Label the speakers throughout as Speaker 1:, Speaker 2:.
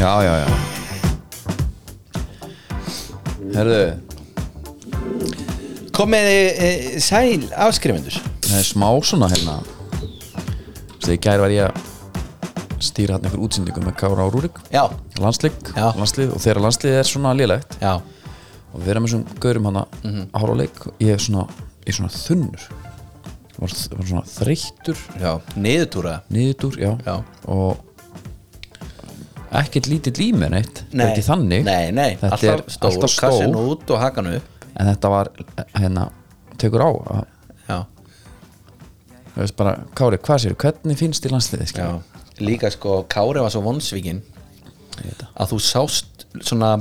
Speaker 1: Já, já, já Herðu,
Speaker 2: Komið e, sæl afskrifundur
Speaker 1: það er smá svona hérna Þegar í gær var ég að stýra hann einhver útsendingu með Kára og Rúrik
Speaker 2: Já,
Speaker 1: landslík,
Speaker 2: Já.
Speaker 1: landslíð og þegar landslíð er svona lélegt
Speaker 2: já, Mhm.
Speaker 1: og við erum með svona gaurum hana mm -hmm. ára og leik ég er svona, ég er svona þunnur var, var svona þreyttur
Speaker 2: já Niðurtúra
Speaker 1: niðurdúr, já,
Speaker 2: Já.
Speaker 1: og ekkert lítill í mér neitt það er ekki þannig
Speaker 2: Nei, nei,
Speaker 1: Þetta
Speaker 2: alltaf
Speaker 1: er
Speaker 2: stór,
Speaker 1: alltaf stór.
Speaker 2: kassin út og hakan upp
Speaker 1: en þetta var hérna, tekur á að
Speaker 2: Já,
Speaker 1: Þú veist bara, Kári, hvað sér, hvernig finnst þér landsliðið?
Speaker 2: já
Speaker 1: skilur?
Speaker 2: Líka sko, Kári var svo vonsvíkin
Speaker 1: Ég veit það.
Speaker 2: að þú sást svona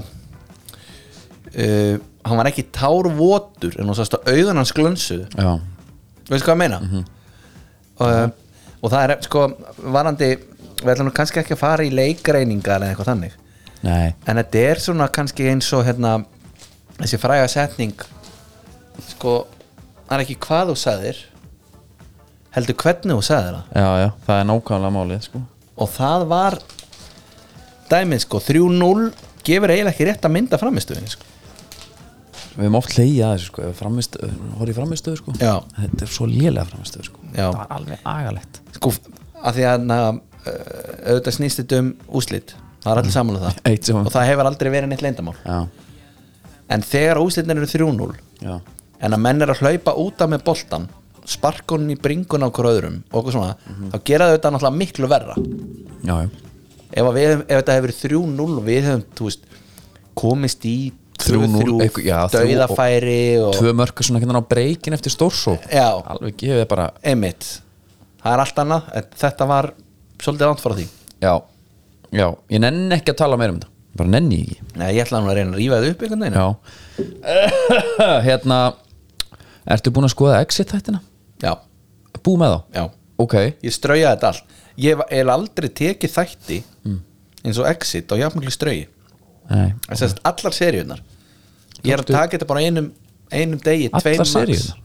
Speaker 2: uh, Hann var ekki tárvotur en þú sást að auðan hans glönsuð
Speaker 1: Já,
Speaker 2: Veistu hvað ég meina?
Speaker 1: Mhm.
Speaker 2: uh, og það er sko, varandi Við ætlum nú kannski ekki að fara í leikreiningar eða eitthvað þannig
Speaker 1: nei,
Speaker 2: en þetta er svona kannski eins og hérna þessi fræga setning sko það er ekki hvað þú sagðir heldur hvernig þú sagðir það
Speaker 1: já, já, það er nákvæmlega málið, sko
Speaker 2: og það var dæmið sko 3-0 gefur eiginlega ekki rétt að mynda framistöðin sko.
Speaker 1: Við höfum oft leiðið að þessu, sko, ef framist, horið framistöðu, sko
Speaker 2: Já.
Speaker 1: Þetta er svo lélega framistöðu, sko
Speaker 2: Já.
Speaker 1: Það er alveg agalegt
Speaker 2: sko af því að na, uh, auðvitað snýst þetta um úslit það er allir saman um það
Speaker 1: Eitt sem-
Speaker 2: og það hefur aldrei verið neitt leyndamál
Speaker 1: Já,
Speaker 2: en þegar úslitin eru 3-0
Speaker 1: já,
Speaker 2: en að menn er að hlaupa úta með boltan sparka honum í bringun á okkur öðrum og okkur svona,
Speaker 1: Mhm.
Speaker 2: þá gera þau þetta náttúrulega miklu verra
Speaker 1: já, já
Speaker 2: ef, að við, ef þetta hefur verið 3-0 og við hefum, þú veist, komist í
Speaker 1: 3-0,
Speaker 2: 2-3,
Speaker 1: eitthvað- já, þrjú og-
Speaker 2: dauðafæri og,
Speaker 1: Tvö mörg er svona hérna á breykin eftir stórsó
Speaker 2: Já.
Speaker 1: Alveg gefið bara,
Speaker 2: einmitt það er allt annað, en þetta var svolítið langt frá því,
Speaker 1: já, já Ég nenni ekki að tala meira um þetta Bara nenni ég ekki
Speaker 2: Nei, ég ætla nú að reyna að rífa þau upp einhvern veginn,
Speaker 1: Já Hérna, ertu búin að skoða exit þættina?
Speaker 2: já,
Speaker 1: Bú með þá?
Speaker 2: já
Speaker 1: Ok,
Speaker 2: ég strauja þetta allt, ég er aldrei tekið þætti
Speaker 1: Mm.
Speaker 2: eins og exit og jafnmikli strauji
Speaker 1: nei
Speaker 2: Það sést allar seríunar Ég er að
Speaker 1: Tókstu-
Speaker 2: taka þetta bara á einum, einum degi
Speaker 1: Allar
Speaker 2: tveim max.
Speaker 1: seríurnar?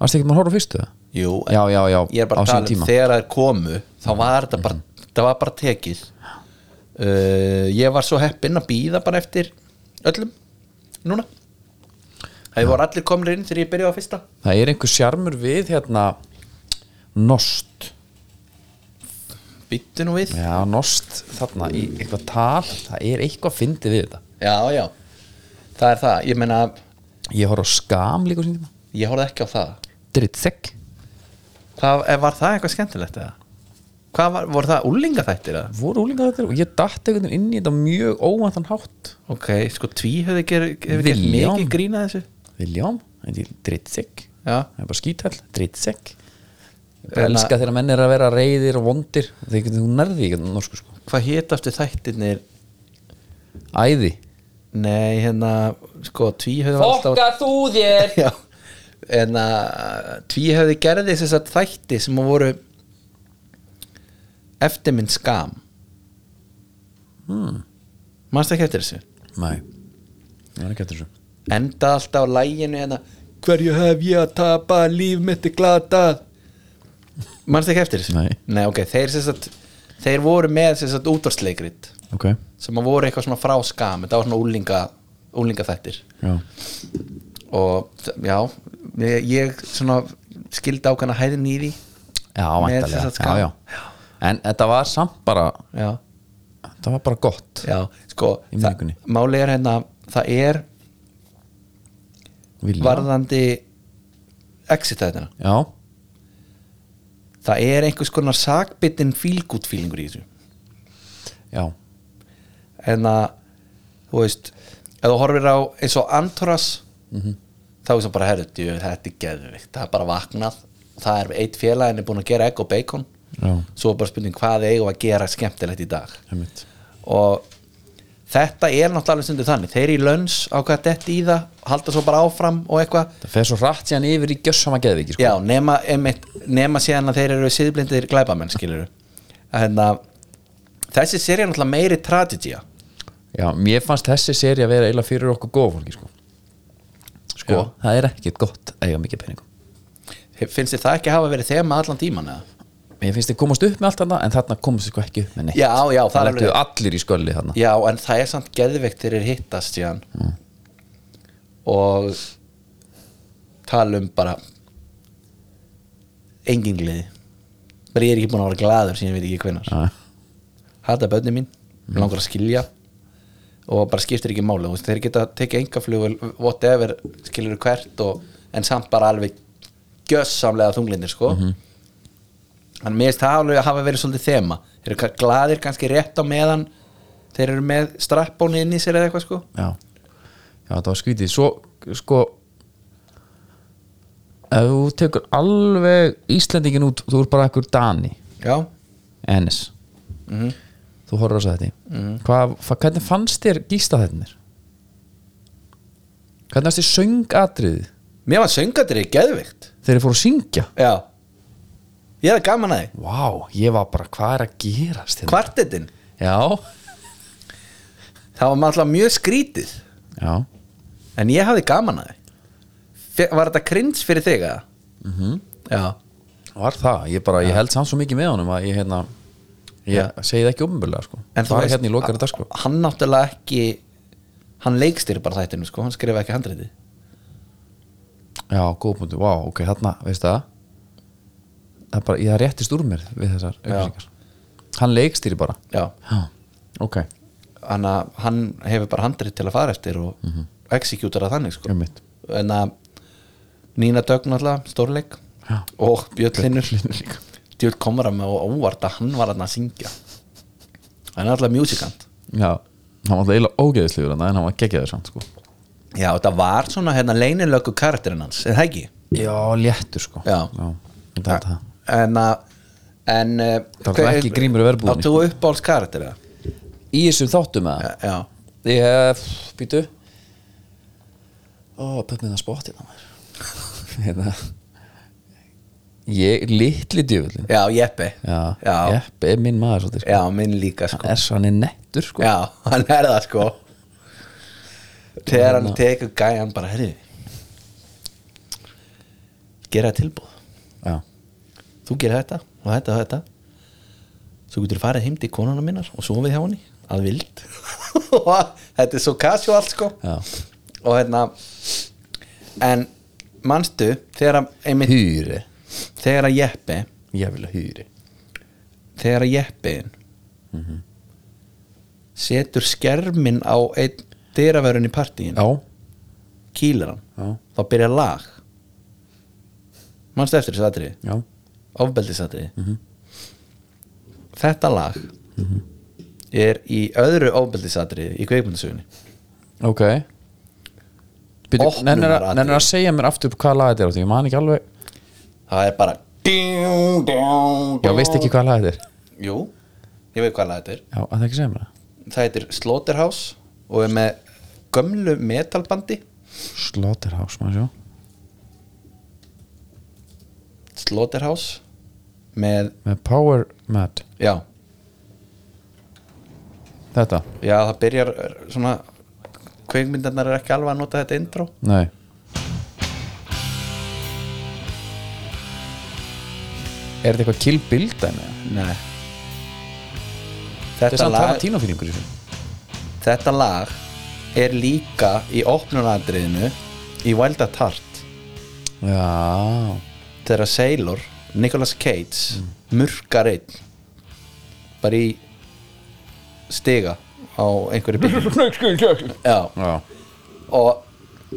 Speaker 1: Varst ekki maður að horfa á fyrstu það?
Speaker 2: Jú,
Speaker 1: Já, já, já,
Speaker 2: ég er bara
Speaker 1: á
Speaker 2: að tala
Speaker 1: sínum
Speaker 2: um
Speaker 1: tíma. Mhm.
Speaker 2: þegar þær komu þá var þetta bara, það var bara tekið uh, Ég var svo heppinn að býða bara eftir öllum núna Það voru allir komnir inn þegar ég byrjaði á fyrsta
Speaker 1: Það er einhver sjarmur við hérna Nost
Speaker 2: Býttu nú við Já,
Speaker 1: Já, Nost þarna í eitthvað tal Það er eitthvað fyndið við þetta
Speaker 2: já, það er það Ég meina,
Speaker 1: Ég horf á skam líka á sínum tíma
Speaker 2: ég horfði ekki á það
Speaker 1: Drittsegg
Speaker 2: Hvað, eh, Var það eitthvað skemmtilegt eða? Hvað var, voru það úlingaþættir eða?
Speaker 1: Voru úlinga þetta og ég datt einhvern veginn inn í þetta á mjög óvæntan hátt
Speaker 2: Ok, sko tví hefði gerð hefði gerð
Speaker 1: William.
Speaker 2: mikið grína þessu
Speaker 1: Viljám, drittsegg
Speaker 2: Já,
Speaker 1: Það er bara skítall, drittsegg
Speaker 2: En
Speaker 1: Ég
Speaker 2: að-
Speaker 1: bara elska þegar menn er að vera reyðir og vondir Þegar þú nærði ekki norsku sko
Speaker 2: hvað hétastu þættirnir
Speaker 1: Æði
Speaker 2: Nei, hérna, sko, tví hefði alltaf
Speaker 1: þú þér
Speaker 2: Já, en að tví hefði gerði þess að þætti sem voru eftirmynd skam hmm. Manstu ekki eftir þessu?
Speaker 1: Nei, það er ekki eftir þessu
Speaker 2: Enda alltaf á læginu hérna Hverju hef ég að tapa líf mitt er glatað Manstu ekki eftir þessu?
Speaker 1: Nei.
Speaker 2: Nei, ok, þeir, sem sagt, þeir voru með þess að útvarsleikrit
Speaker 1: Ok,
Speaker 2: sem að voru eitthvað svona frá skam þetta var svona úlinga, úlinga þættir
Speaker 1: já
Speaker 2: og þ- já, ég, ég svona skildi ákveðna hæðin í því
Speaker 1: Já,
Speaker 2: Með
Speaker 1: vantarlega
Speaker 2: þess að
Speaker 1: já,
Speaker 2: skam.
Speaker 1: já. En þetta var samt bara
Speaker 2: já,
Speaker 1: Þetta var bara gott
Speaker 2: já, sko það,
Speaker 1: Í minningunni.
Speaker 2: máli er hérna, það er
Speaker 1: Vilja.
Speaker 2: varðandi exit þættina,
Speaker 1: Já,
Speaker 2: það er einhvers konar sakbyttin fílgút fílingur í þessu
Speaker 1: já,
Speaker 2: en að, þú veist ef þú horfir á eins og Antoras þá er það bara, herrðu, djú, þetta er geðvikt það er bara vaknað, það er eitt félagin er búin að gera egg og bacon
Speaker 1: já,
Speaker 2: svo er bara spurning hvað eigum við að gera skemmtilegt í dag
Speaker 1: einmitt
Speaker 2: og þetta er náttúrulega alveg stundu þannig þeir í lönns á hvað detti í það halda svo bara áfram og eitthvað
Speaker 1: það fer svo rætt síðan yfir í gjössama geðviki sko.
Speaker 2: já, nema, einmitt, nema síðan að þeir eru síðblindir glæbamenn skilur hérna, þessi séri er náttúrulega meiri tragedía
Speaker 1: já, mér fannst þessi seri að vera eila fyrir okkur góð fólki sko, sko
Speaker 2: Já.
Speaker 1: það er ekkit gott að eiga mikið peningum
Speaker 2: finnst þið það ekki hafa verið þema allan tíman eða?
Speaker 1: mér finnst þið komast upp með allt þarna en þarna komast þið sko ekki upp með neitt
Speaker 2: já, já, það
Speaker 1: það
Speaker 2: er alveg
Speaker 1: lentu allir í skölli þarna
Speaker 2: já, en það er samt geðveikt þeir eru hittast síðan og tala um bara engin gleði bara ég er ekki búin að vera glaður síðan ég veit ekki hvenær
Speaker 1: Já.
Speaker 2: hata bönni mín, mm. langar að skilja og bara skiptir ekki máli þú veist, þeir geta tekið engaflugul whatever, skilur hvert og, en samt bara alveg gjössamlega þunglindir sko en mér finnst það alveg að hafa verið svolítið þema þeir eru ka- glaðir kannski rétt á meðan þeir eru með strappbónu inn í sér eða eitthvað sko
Speaker 1: já, já það var skrítið svo sko ef þú tekur alveg Íslendingin út, þú er bara ekkur Dani
Speaker 2: já,
Speaker 1: Ennis
Speaker 2: Mhm.
Speaker 1: þú horfður á þetta mm hvernig fannst þér gísta þennir hvernig fannst þér söngatriði
Speaker 2: mér var söngatrið geðvikt
Speaker 1: þegar ég fór að syngja
Speaker 2: já, ég hefði gaman að þið
Speaker 1: vá, ég var bara, hvað er að gerast hérna?
Speaker 2: kvartetinn,
Speaker 1: já,
Speaker 2: það var maður alltaf mjög skrítið
Speaker 1: já,
Speaker 2: En ég hafði gaman að þið Var þetta cringe fyrir þig að?
Speaker 1: Mhm.
Speaker 2: Mm -hmm.
Speaker 1: var það ég bara, ég held samt svo mikið með honum að ég hérna ég segi það ekki ofnbjörlega sko
Speaker 2: En þú
Speaker 1: bara
Speaker 2: veist-
Speaker 1: hérna í lokari dagskrá
Speaker 2: Já Hann náttúrulega ekki Hann leikstýri bara þættinu sko Hann skrifa ekki handriti
Speaker 1: Já, góð punktu, vá, ok, þarna, veist það Það er bara, ég það réttist úr mér við þessar upplýsingar Hann leikstýri bara
Speaker 2: Já
Speaker 1: Já, ok,
Speaker 2: Hann, að- hann hefur bara handrit til að fara eftir Og mm
Speaker 1: Mhm.
Speaker 2: -hmm. executera þannig sko
Speaker 1: um mitt
Speaker 2: En að Nína Dögg náttúrulega Stórleik
Speaker 1: Já.
Speaker 2: Og Bjöllinur Djöld komur að með og óvart að hann var hann að syngja Hann er náttúrulega musicant
Speaker 1: Já, hann var alltaf eiginlega ógeðislegur hann en hann var geggjaður samt, sko
Speaker 2: Já, þetta var svona hérna leynilöku karakterinn hans Er það ekki?
Speaker 1: Já, léttur, sko
Speaker 2: Já.
Speaker 1: þetta er það
Speaker 2: en að en uh,
Speaker 1: Það var ekki Grímur í verbúðinni. sko.
Speaker 2: áttu uppáhalds karakter eða?
Speaker 1: Í þessum þáttum með það
Speaker 2: já,
Speaker 1: Ég hef, býtu Ó, pöppið það spottið á mér Hérna Ég, litli djöfullin
Speaker 2: já, Jeppi
Speaker 1: Já,
Speaker 2: já,
Speaker 1: Jepp er minn maður svolítið, sko.
Speaker 2: já, minn líka sko.
Speaker 1: er svo hann er nettur sko
Speaker 2: já, hann er það sko þegar hann tekur gæjan bara herri gera tilbúð
Speaker 1: já,
Speaker 2: þú gerir þetta og þetta og þetta svo getur farið heim til konuna minnar og sofið hjá henni að vild þetta er svo casual sko
Speaker 1: Já.
Speaker 2: og hérna en manstu þegar að einmitt
Speaker 1: hýri
Speaker 2: þegar að jeppi
Speaker 1: ég vil að hýri
Speaker 2: þegar að jeppi
Speaker 1: Mhm.
Speaker 2: setur skermin á einn dyravörun í partíin
Speaker 1: já,
Speaker 2: kýlir hann,
Speaker 1: Já.
Speaker 2: þá byrja lag manstu eftir þessu atriði
Speaker 1: já,
Speaker 2: ofbeldisatri
Speaker 1: Mhm.
Speaker 2: þetta lag er í öðru ofbeldisatri í kveikmyndasögunni
Speaker 1: ok Býtu,
Speaker 2: Opnunaratriði.
Speaker 1: nennir, að, nennir að segja mér aftur hvað lag þetta er á því, ég man ekki alveg
Speaker 2: það er bara djú, djú,
Speaker 1: já, veist ekki hvað lag þetta er
Speaker 2: jú, ég veit hvað lag þetta er
Speaker 1: já, að það ekki segja mér það
Speaker 2: það heitir Slaughterhouse og er með gömlu metalbandi
Speaker 1: Slaughterhouse, maður sjá
Speaker 2: Slaughterhouse með,
Speaker 1: með Power Mad,
Speaker 2: já,
Speaker 1: þetta,
Speaker 2: já það byrjar eh, svona kveikmyndarnar er ekki alveg að nota þetta intro
Speaker 1: nei er þetta eitthvað Kill Bill dæmi? eða?
Speaker 2: Nei
Speaker 1: þetta er
Speaker 2: Þetta
Speaker 1: samt
Speaker 2: lag
Speaker 1: Tarantino fílingur í þessu
Speaker 2: Þetta lag er líka í opnunadriðinu í Wild at Heart
Speaker 1: já,
Speaker 2: þegar Sailor, Nicolas Cage
Speaker 1: Mm.
Speaker 2: murkar einn bara í stiga á einhverju bíl
Speaker 1: Sko,
Speaker 2: Já,
Speaker 1: já,
Speaker 2: og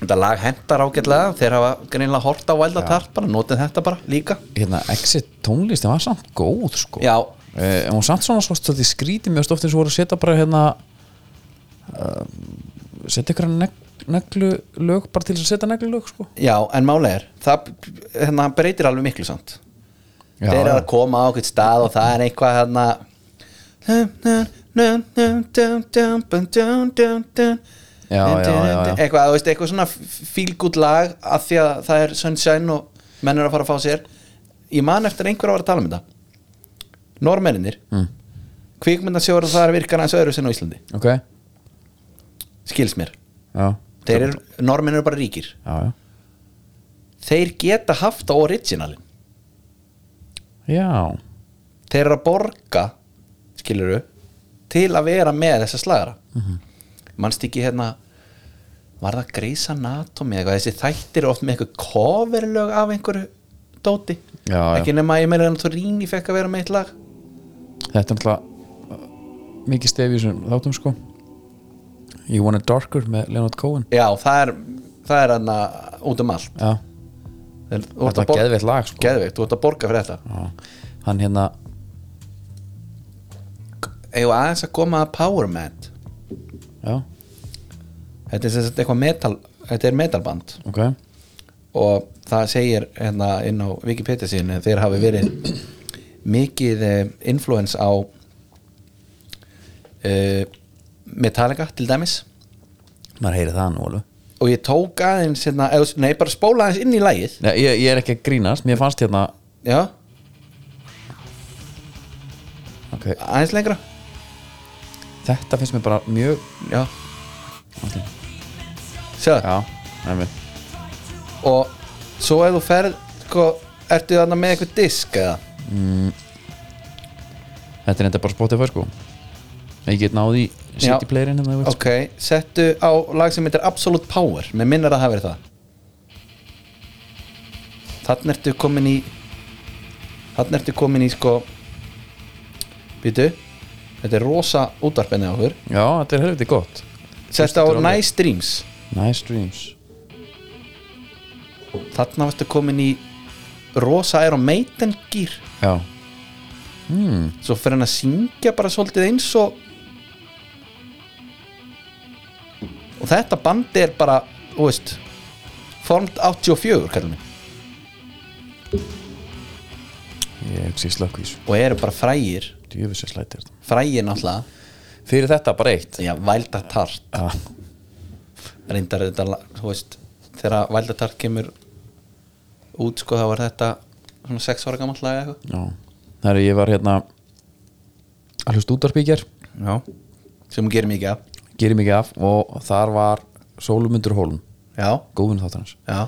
Speaker 2: þetta lag hendar ágætlega þeir hafa greinilega hort á Wild at Heart bara, notið þetta bara líka
Speaker 1: hérna, Exit tónlistin var samt góð, sko
Speaker 2: Já,
Speaker 1: Eh, en hún samt svona svo svolítið skrítið mjög stóft eins og voru að setja bara hérna uh, setja ykkur neg neglu lög bara til þess að setja neglu lög sko
Speaker 2: já, en málega er það hérna, breytir alveg miklu samt
Speaker 1: já,
Speaker 2: þeir eru
Speaker 1: já,
Speaker 2: að koma á okkur stað og það er eitthvað hérna dun, dun, dun, dun, dun, dun, dun, dun.
Speaker 1: Já,
Speaker 2: Dun, dun,
Speaker 1: já, já,
Speaker 2: dun.
Speaker 1: já.
Speaker 2: eitthvað, þú veist, eitthvað svona fílgút lag af því að það er sunshine og menn er að fara að fá sér ég man eftir að einhver að vera að tala um þetta normenninir mm. kvikmyndasjóður það er virkar aðeins öðru sinna á Íslandi
Speaker 1: ok já,
Speaker 2: skils mér,
Speaker 1: já,
Speaker 2: þeir eru normenn eru bara ríkir
Speaker 1: já.
Speaker 2: þeir geta haft á originalin
Speaker 1: já.
Speaker 2: þeir eru að borga skiluru, til að vera með þessa slagara mm
Speaker 1: Mhm.
Speaker 2: -hmm. mannst ekki hérna var það Grey's Anatomy eða eitthvað, þessi þættir eru oft með eitthvað coverlög af einhverju dóti,
Speaker 1: Já, já.
Speaker 2: ekki nema að ég meira en þú rýni fekk að vera með eitt lag
Speaker 1: þetta er náttúrulega uh, mikið stefið sem þáttum sko You Want It Darker með Leonard Cohen
Speaker 2: já, það er það er hann út um allt
Speaker 1: já,
Speaker 2: Þeir- þú ert
Speaker 1: þetta
Speaker 2: að
Speaker 1: var
Speaker 2: borga-
Speaker 1: geðveitt lag sko
Speaker 2: geðveikt, þú ert að borga fyrir þetta
Speaker 1: já. hann hérna
Speaker 2: eða aðeins að koma að Power Man
Speaker 1: já,
Speaker 2: þetta er sem sagt eitthvað metal þetta er metalband
Speaker 1: ok,
Speaker 2: og það segir hérna inn á Wikipedia síðan þeir hafi verið mikið eh, influence á uh, Metallica til dæmis
Speaker 1: maður heyri það nú alveg
Speaker 2: og ég tók aðeins hérna, eða, nei bara spóla aðeins inn í lægið
Speaker 1: Já, ég, ég er ekki að grínast, mér fannst hérna
Speaker 2: já,
Speaker 1: okay.
Speaker 2: aðeins lengra
Speaker 1: Þetta finnst mér bara mjög
Speaker 2: já
Speaker 1: Ok.
Speaker 2: Sjá,
Speaker 1: Já, nefnir
Speaker 2: og svo ef þú ferð sko, ertu þarna með eitthvað disk eða
Speaker 1: Þetta er enda bara Spotify sko Ég get náði í
Speaker 2: Já.
Speaker 1: City Playerin hérna, okay.
Speaker 2: ok, settu á lag sem heitir Absolute Power, með minnar að það hafi verið það þannig ertu komin í þannig ertu komin í sko býtu þetta er rosa útvarpinni á okkur
Speaker 1: Já, þetta er helviti gott
Speaker 2: settu á
Speaker 1: þetta er alveg-
Speaker 2: Nice Dreams
Speaker 1: Nice Dreams
Speaker 2: þannig ertu komin í rosa Iron Maiden gýr
Speaker 1: Já hmm.
Speaker 2: svo fyrir hann að syngja bara svolítið eins og og þetta bandi er bara, þú veist formt 84 kallum við
Speaker 1: Ég hugsi slökkvís
Speaker 2: og eru bara frægir
Speaker 1: Djöfis er slættir þetta
Speaker 2: frægir náttúrulega
Speaker 1: Fyrir þetta bara eitt
Speaker 2: já, Vælda Tart
Speaker 1: Já,
Speaker 2: reyndar þetta, la- þú veist þegar Vælda Tart kemur út sko þá var þetta svona 6 ára gammal lag eða
Speaker 1: já Það er ég var hérna Allust útarpíkjar
Speaker 2: eitthvað já. sem hún gerir mikið af
Speaker 1: Gerir mikið af og þar var Sólumundur Hólm
Speaker 2: já,
Speaker 1: Góðvinn þáttar hans
Speaker 2: já,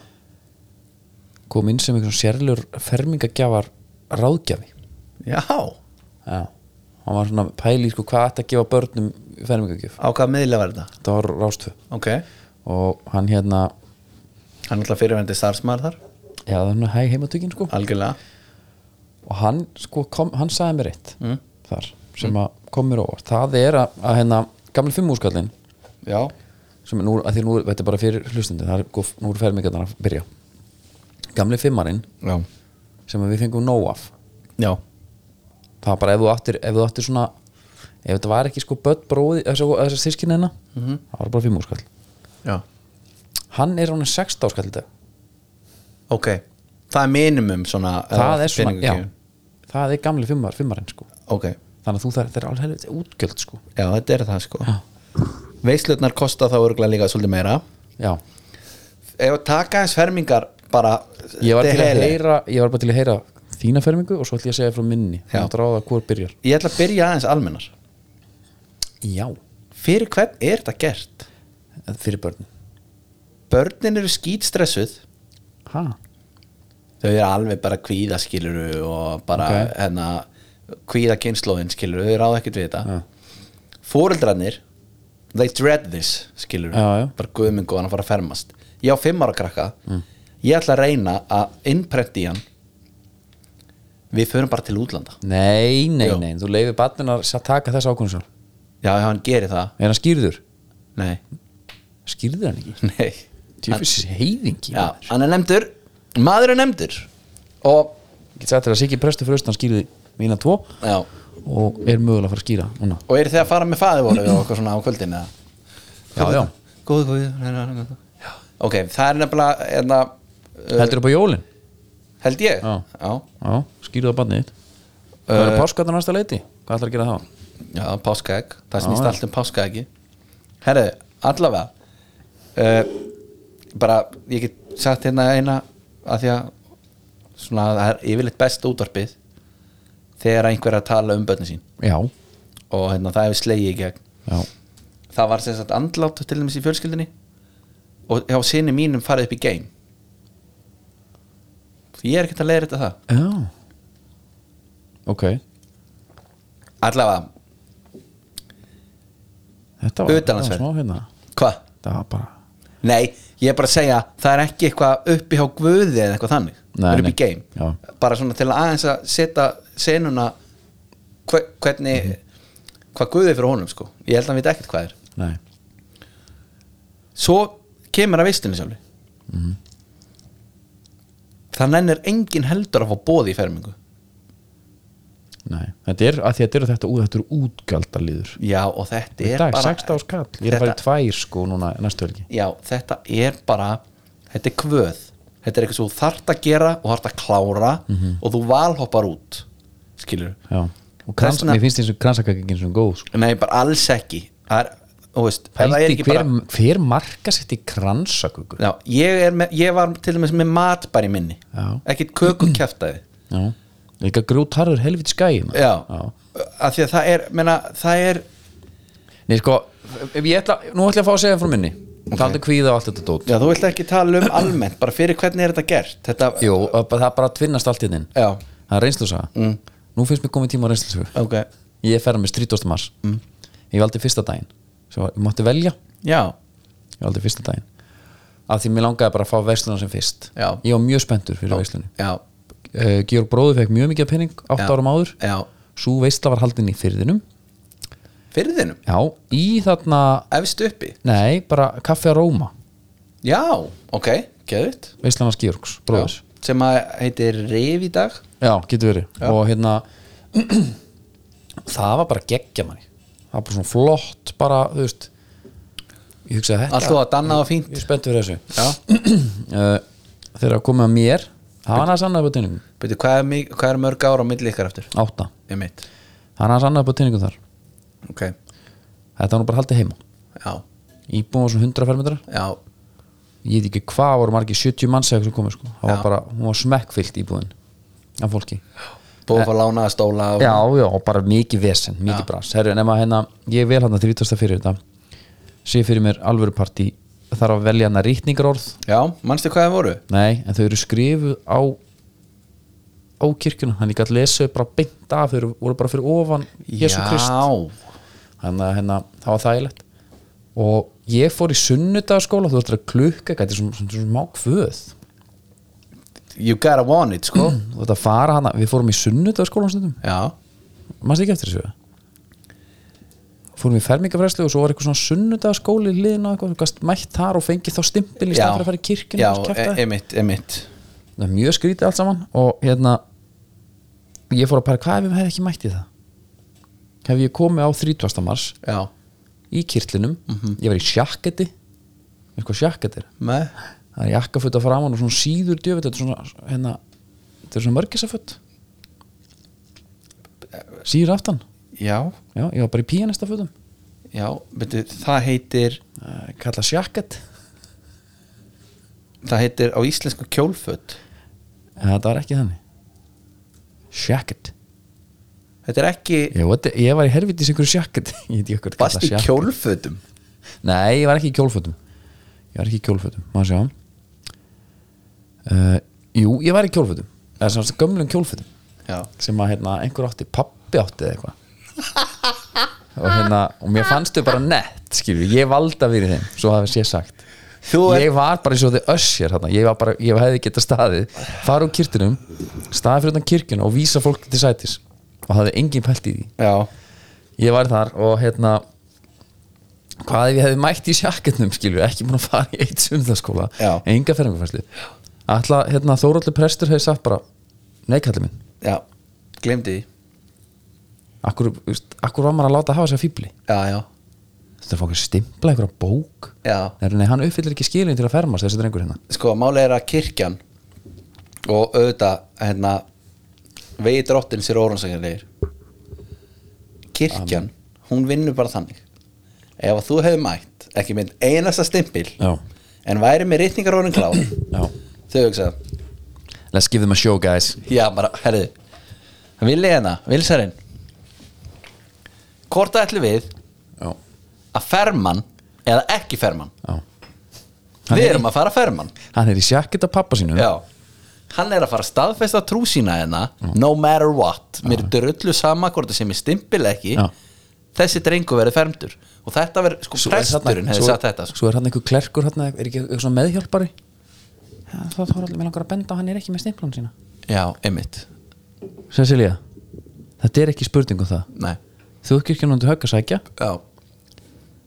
Speaker 1: Kom inn sem einhvern sérlur fermingagjafar ráðgjafi
Speaker 2: já á
Speaker 1: Já, hann var svona pæli sko, hvað ætti að gefa börnum í fermingagjöf
Speaker 2: hvaða miðlega var þetta
Speaker 1: þetta var rástfu
Speaker 2: ok,
Speaker 1: og hann hérna
Speaker 2: hann er alltaf fyrirvendi starfsmaður þar
Speaker 1: já það er hann hæg heimatökin sko
Speaker 2: algjörlega
Speaker 1: og hann sko kom, hann sagði mér eitt þar sem að kom mér óvart það er að, að hérna gamli fimmúskallin
Speaker 2: já,
Speaker 1: sem er nú, að því nú, er- þetta er bara fyrir hlustundi það er, góð- nú eru fermingarnar að byrja gamli fimmarinn
Speaker 2: já,
Speaker 1: sem að við fengum nóg af
Speaker 2: já.
Speaker 1: það var bara ef þú áttir, ef þú áttir svona ef þetta var ekki sko börn bróði þessar þískinina, mm -hmm. það var bara fimmúskall
Speaker 2: já.
Speaker 1: hann er hann 16 áskall í dag
Speaker 2: ok, það er minimum svona
Speaker 1: það er svona, já
Speaker 2: peningagjöfin.
Speaker 1: það er gamli fimmar, fimmarinn sko
Speaker 2: ok,
Speaker 1: þannig að þú þarf, það er alveg helviti útgjöld sko
Speaker 2: já, þetta er það sko
Speaker 1: já,
Speaker 2: veislutnar kosta þá örgulega líka svolítið meira
Speaker 1: já.
Speaker 2: ef að taka hans fermingar bara
Speaker 1: Ég, var
Speaker 2: þetta er
Speaker 1: til að
Speaker 2: heiðarlegt.
Speaker 1: heyra, ég var bara til að heyra þína fermingu og svo ætlum ég að segja frá minni
Speaker 2: Já.
Speaker 1: þannig að ráða hvor byrjar
Speaker 2: ég ætla að byrja aðeins almennar
Speaker 1: já,
Speaker 2: fyrir hvern er þetta gert?
Speaker 1: fyrir börnin
Speaker 2: börnin eru skítstressuð
Speaker 1: ha,
Speaker 2: þau eru alveg bara kvíðaskiluru og bara
Speaker 1: Ok.
Speaker 2: hérna kvíðakinslóðin skiluru, þau ráða ekkert við þetta fóreldrarnir they dread this skiluru
Speaker 1: Já, Mm. já.
Speaker 2: bara guðmengu hann að fara að fermast ég á fimm ára krakka ég ætla að reyna að innprenti hann við förum bara til útlanda
Speaker 1: nei, nei,
Speaker 2: Já.
Speaker 1: nei þú leifir barnin að sa- taka þess ákvörðun sjálf
Speaker 2: já, ef hann gerir það
Speaker 1: er hann skýrður?
Speaker 2: nei,
Speaker 1: skýrður hann ekki?
Speaker 2: nei
Speaker 1: tjöfis heiðingi
Speaker 2: já, hann er nefndur, maður er nefndur og
Speaker 1: ég get sagt þér að Siggi prestur fyrir austan skýrði mína tvo
Speaker 2: já,
Speaker 1: og er mögulega að fara að skýra núna
Speaker 2: og eru þið að fara með faði voru og okkur svona á kvöldin eða?
Speaker 1: já, já,
Speaker 2: góð, góð, nei, nei, nei, nei. ok, það er nefnilega enna,
Speaker 1: heldur upp á jólin
Speaker 2: held ég
Speaker 1: Já.
Speaker 2: Já.
Speaker 1: Uh, Já, skýrðu það barnið þitt Það eru páskarnar næsta leiti, hvað ætlar að gera þá?
Speaker 2: já, páskaegg, það snýst
Speaker 1: Já, já.
Speaker 2: allt um páskaeggi herru, allavega uh, bara ég get sagt hérna eina að því að svona, það er yfirleitt best útvarpið þegar einhver er að tala um börnin sín
Speaker 1: já,
Speaker 2: og hérna, það hefur slegið í gegn
Speaker 1: já,
Speaker 2: það var sem sagt andlátt til dæmis í fjölskyldinni og hjá sinni mínum farið upp í game ég er ekkert að leiða þetta það
Speaker 1: já ok,
Speaker 2: allavega,
Speaker 1: þetta var þetta var
Speaker 2: Utanlandsferð.
Speaker 1: smá hérna
Speaker 2: hvað?
Speaker 1: það var bara,
Speaker 2: Nei, ég er bara að segja það er ekki eitthvað uppi hjá guði eða eitthvað þannig,
Speaker 1: Nei,
Speaker 2: það er uppi
Speaker 1: nei.
Speaker 2: í game
Speaker 1: Já. bara
Speaker 2: bara svona til að aðeins að setja senuna hve, hvernig
Speaker 1: Mhm.
Speaker 2: hvað guði fyrir honum sko ég held að hann veit ekkert hvað er
Speaker 1: nei,
Speaker 2: svo kemur að veistunni sjálfri
Speaker 1: Mhm.
Speaker 2: það nennir engin heldur að fá bóði í fermingu
Speaker 1: nei þetta er, að því þetta eru þetta út, þetta eru útgjaldaliður
Speaker 2: já og þetta
Speaker 1: í
Speaker 2: er
Speaker 1: dag,
Speaker 2: bara
Speaker 1: 16 skall, ég er að fara í
Speaker 2: þetta,
Speaker 1: tvær sko núna næstu helgi
Speaker 2: já, þetta er bara þetta er kvöð þetta er eitthvað sem þú þart að gera og þart að klára
Speaker 1: Mhm.
Speaker 2: og þú valhoppar út skilur
Speaker 1: já, og krans,
Speaker 2: Þessna-
Speaker 1: mér finnst þessu kransakakingin sem góð sko.
Speaker 2: nei bara alls ekki það er, þú veist, ef það er
Speaker 1: Pældi,
Speaker 2: ekki
Speaker 1: hver,
Speaker 2: bara
Speaker 1: hver marka sett í kransaköku
Speaker 2: já, ég, er með, ég var til dæmis með mat bara í minni
Speaker 1: Já.
Speaker 2: ekkit kökukjæftæði
Speaker 1: já, líka grjótarður helvit skæin
Speaker 2: já, af því að það er, menna, það er
Speaker 1: Nei, sko, ef ég ætla, nú ætla ég að fá að segja frá minni okay. Taldu kvíða og allt þetta dót
Speaker 2: já, þú vilt ekki tala um almennt bara fyrir hvernig er þetta gert þetta,
Speaker 1: Jú, og bara- það bara tvinnast allt hérna í þinn
Speaker 2: já,
Speaker 1: Það er reynslusa mm. Nú finnst mér komið tíma á reynslusu
Speaker 2: ok
Speaker 1: Ég fer með strítostumars mm. Ég valdi fyrsta daginn Svo ég mátti velja,
Speaker 2: já,
Speaker 1: ég valdi fyrsta daginn Af því mér langaði bara að fá veisluna sem fyrst
Speaker 2: Já.
Speaker 1: Ég var mjög spenntur fyrir veislunni
Speaker 2: já,
Speaker 1: uh, Georg bróður fekk mjög mikið af pening 8
Speaker 2: Já.
Speaker 1: árum áður
Speaker 2: já
Speaker 1: Sú veisla var haldin í fyrðinum
Speaker 2: fyrðinum,
Speaker 1: Já, í þarna
Speaker 2: efst uppi
Speaker 1: Nei, bara kaffi að róma
Speaker 2: já, ok, geðut
Speaker 1: Veislan hans Georgs, bróðurs
Speaker 2: sem að heitir Rif í dag
Speaker 1: Já, getur verið og hérna það var bara geggja manni það var bara svona flott bara, þú veist ég hugsaði þetta
Speaker 2: allt og að danna og fínt
Speaker 1: ég er spennt fyrir þessu
Speaker 2: já,
Speaker 1: uh, þegar að koma að mér það var hans annað upp á teiningum
Speaker 2: betur, hvað, er mi- hvað er mörg ára á milli ykkar eftir?
Speaker 1: átta,
Speaker 2: ég mitt,
Speaker 1: það var hans annað upp á teiningum þar
Speaker 2: ok,
Speaker 1: þetta var nú bara haldið heima
Speaker 2: já
Speaker 1: íbúin var svona 100 fermetrar
Speaker 2: já,
Speaker 1: ég veit ekki hvað voru margir 70 manns eða eitthvað sem komið sko það var
Speaker 2: Já.
Speaker 1: bara, hún var smekkfyllt íbúin af fólki
Speaker 2: búið að fá lánaða stóla og...
Speaker 1: já, já, og bara mikið vesen, mikið bras Herru, nema hérna, ég vel hérna þrítasta fyrir þetta sé fyrir mér alvöru partí þarf að velja hana rítningarorð
Speaker 2: já, manstu hvað það voru?
Speaker 1: nei, en þau eru skrifuð á á kirkjuna, hann ég gætt lesa þau bara beint af, þau eru- voru bara fyrir ofan Jésu Krist,
Speaker 2: já,
Speaker 1: þannig að hérna, það var þægilegt og ég fór í sunnudagaskóla þú veist það er klukka, þetta er svona, svona, svona mákföð
Speaker 2: you gotta want it, sko
Speaker 1: þú veist að fara hana, við fórum í sunnudagaskóla um stundum
Speaker 2: já,
Speaker 1: mannst ekki eftir þessu fórum í fermingafræslu og svo var eitthvað svona sunnudagaskóli í liðin og eitthvað, þú gast mætt þar og fengið þá stimpil
Speaker 2: já
Speaker 1: í stað fyrir að fara í kirkina
Speaker 2: já,
Speaker 1: og kjafta.
Speaker 2: e- emitt, emitt
Speaker 1: það er mjög skrítið allt saman og hérna ég fór að pæra hvað ef ég hefði ekki mætt í það hef ég komið á 30. mars
Speaker 2: já,
Speaker 1: í kirtlinum,
Speaker 2: Mhm.
Speaker 1: ég var í sjakketti eitthvað sjakketti er
Speaker 2: með
Speaker 1: það er jakkafutt að framan og svona síður djöfitt þetta er svona, hérna, þetta er svona mörgisafutt síður aftan
Speaker 2: já,
Speaker 1: já, ég var bara í píanistafutum
Speaker 2: já, betur, það heitir
Speaker 1: Eh, kalla sjakket
Speaker 2: það heitir á íslensku kjólföt
Speaker 1: en þetta var ekki þannig sjakket
Speaker 2: þetta er ekki
Speaker 1: ég, veit- ég var í helvitis einhverju sjakket ég veit ekki okkur
Speaker 2: Varst í kjólfötum
Speaker 1: nei, ég var ekki í kjólfötum ég var ekki í kjólfötum, maður sjá uh, jú, ég var í kjólfötum eða svona gömlum kjólfötum
Speaker 2: Já,
Speaker 1: sem að hérna, einhver átti pappi átti eða eitthvað og hérna, og mér fannst þau bara nett skilju, ég valda fyrir þeim svo hafi sé sagt
Speaker 2: Þú ert-
Speaker 1: ég var bara eins og þið össjar hérna. ég var bara, ég hefði getað staðið fara úr kirtinum, staðið fyrir utan kirkjuna og vísa fólk til sætis og hafði engin pælt í því,
Speaker 2: já,
Speaker 1: ég var þar og hérna hvað ef ég hefði mætt í sjaketnum skilju, ekki búin að fara í eitt sumðaskóla
Speaker 2: Já.
Speaker 1: enga ferðingafærslu ætla, hérna, Þóraldur prestur hefði sagt bara nei kallið minn,
Speaker 2: já, glemdi því
Speaker 1: akkur, veist, akkur var maður að láta hafa sér fýbli
Speaker 2: Já, já,
Speaker 1: þetta er fólk að stimpla einhverja bók
Speaker 2: já
Speaker 1: nei, nei, hann uppfyllir ekki skilin til að fermast þessi drengur hérna
Speaker 2: Sko, málið er að kirkjan og auðvitað, hérna vegi drottin sér órannsækjanlegir Kirkjan hún vinnur bara þannig ef að þú hefði mætt, ekki minn einasta stimpil
Speaker 1: Já.
Speaker 2: en væri með rýtningarónin klá
Speaker 1: Já.
Speaker 2: þau hugsa,
Speaker 1: Let's give them a show guys
Speaker 2: já bara, herðu Vili hérna, Vilsarinn hvort ætlum við
Speaker 1: Já,
Speaker 2: að ferman eða ekki ferman
Speaker 1: já Hann
Speaker 2: við
Speaker 1: er,
Speaker 2: erum að fara ferman
Speaker 1: hann er í sjakkið af pappa sínum
Speaker 2: já. hann er að fara að staðfesta trú sína hérna no matter what, mér er drullu sama hvort það sem er stimpil eða ekki
Speaker 1: Já.
Speaker 2: þessi drengu verið fermdur og þetta verið, sko
Speaker 1: Svo er
Speaker 2: presturinn
Speaker 1: þarna-
Speaker 2: hefði
Speaker 1: svo-
Speaker 2: sagt þetta sko.
Speaker 1: Svo er hann einhver klerkur, hann er ekki eitthvað svona meðhjálpari Já, það þarf allir með langar að benda á, hann er ekki með stimplun sína
Speaker 2: já, einmitt
Speaker 1: Cecilia, þetta er ekki spurning um það
Speaker 2: Nei.
Speaker 1: Þú ekki ekki náttúrulega högg að sækja
Speaker 2: já.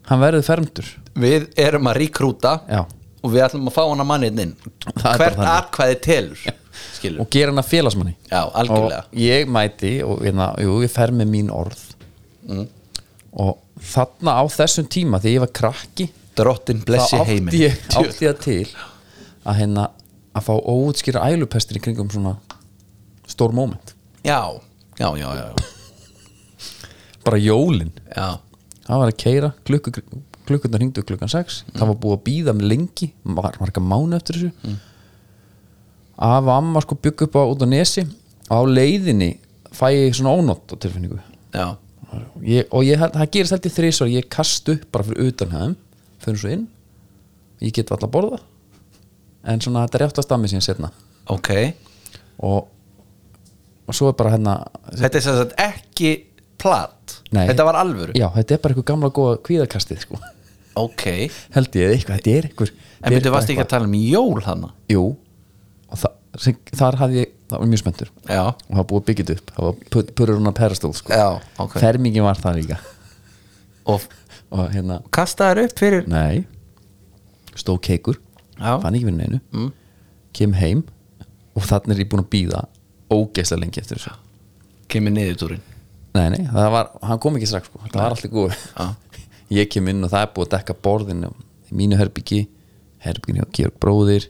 Speaker 1: Hann verður fermdur
Speaker 2: við erum að ríkrúta
Speaker 1: Já.
Speaker 2: og við ætlum að fá hana manninn inn
Speaker 1: bara
Speaker 2: hvert
Speaker 1: þannig.
Speaker 2: atkvæði telur skilur,
Speaker 1: og gera hann að félagsmanni
Speaker 2: já, algjörlega
Speaker 1: og ég mæti og hérna, jú, ég fer með mín orð
Speaker 2: Mm.
Speaker 1: og þarna á þessum tíma þegar ég var krakki
Speaker 2: drottin
Speaker 1: þá
Speaker 2: blessi heimin
Speaker 1: átti ég, átti ég til að hérna að fá óutskýra ælupestir í kringum svona stór moment,
Speaker 2: já, já, já, já, já.
Speaker 1: bara jólin
Speaker 2: já.
Speaker 1: það var að keira, klukku, klukkunar hringdu klukkan 6, það var búið að býða með lengi, mar marga mánu eftir þessu mm. af amma sko bygg upp á út á nesi og á leiðinni fæ ég svona ónótt á tilfinningu
Speaker 2: já,
Speaker 1: ég, og ég, það gerist held í þrísvar ég kast upp bara fyrir utan hefðum fyrir svo inn, ég get alltaf að borða en svona þetta er rétt að stammi síðan setna
Speaker 2: ok
Speaker 1: og, og svo er bara hérna
Speaker 2: Þetta er sem sagt ekki plat
Speaker 1: Nei.
Speaker 2: Þetta var alvöru
Speaker 1: já, þetta er bara eitthvað gamla góða kvíðarkastið sko.
Speaker 2: Ok,
Speaker 1: held ég, eða eitthvað, þetta er eitthvað
Speaker 2: en byrju varst ekki að tala um jól hana
Speaker 1: jú, og það, sem, þar hafði ég, það var mjög spenntur
Speaker 2: Já,
Speaker 1: og það var búið að byggja þetta upp, það var put- purur hún að perastól sko.
Speaker 2: já, ok
Speaker 1: fermingin var það líka
Speaker 2: Og
Speaker 1: og hérna,
Speaker 2: kastaðar upp fyrir
Speaker 1: nei stóð keikur
Speaker 2: Já, Mm.
Speaker 1: fann ekki fyrir neinu kem heim og þannig er ég búin að býða ógeðslega lengi eftir þessu
Speaker 2: kemur niður túrin
Speaker 1: nei, nei, það var, hann kom ekki strax sko. það var alltaf
Speaker 2: Já.
Speaker 1: góð ég kem inn og það er búið að dekka borðinu í mínu herbyggi, herbygginu hjá Georg bróðir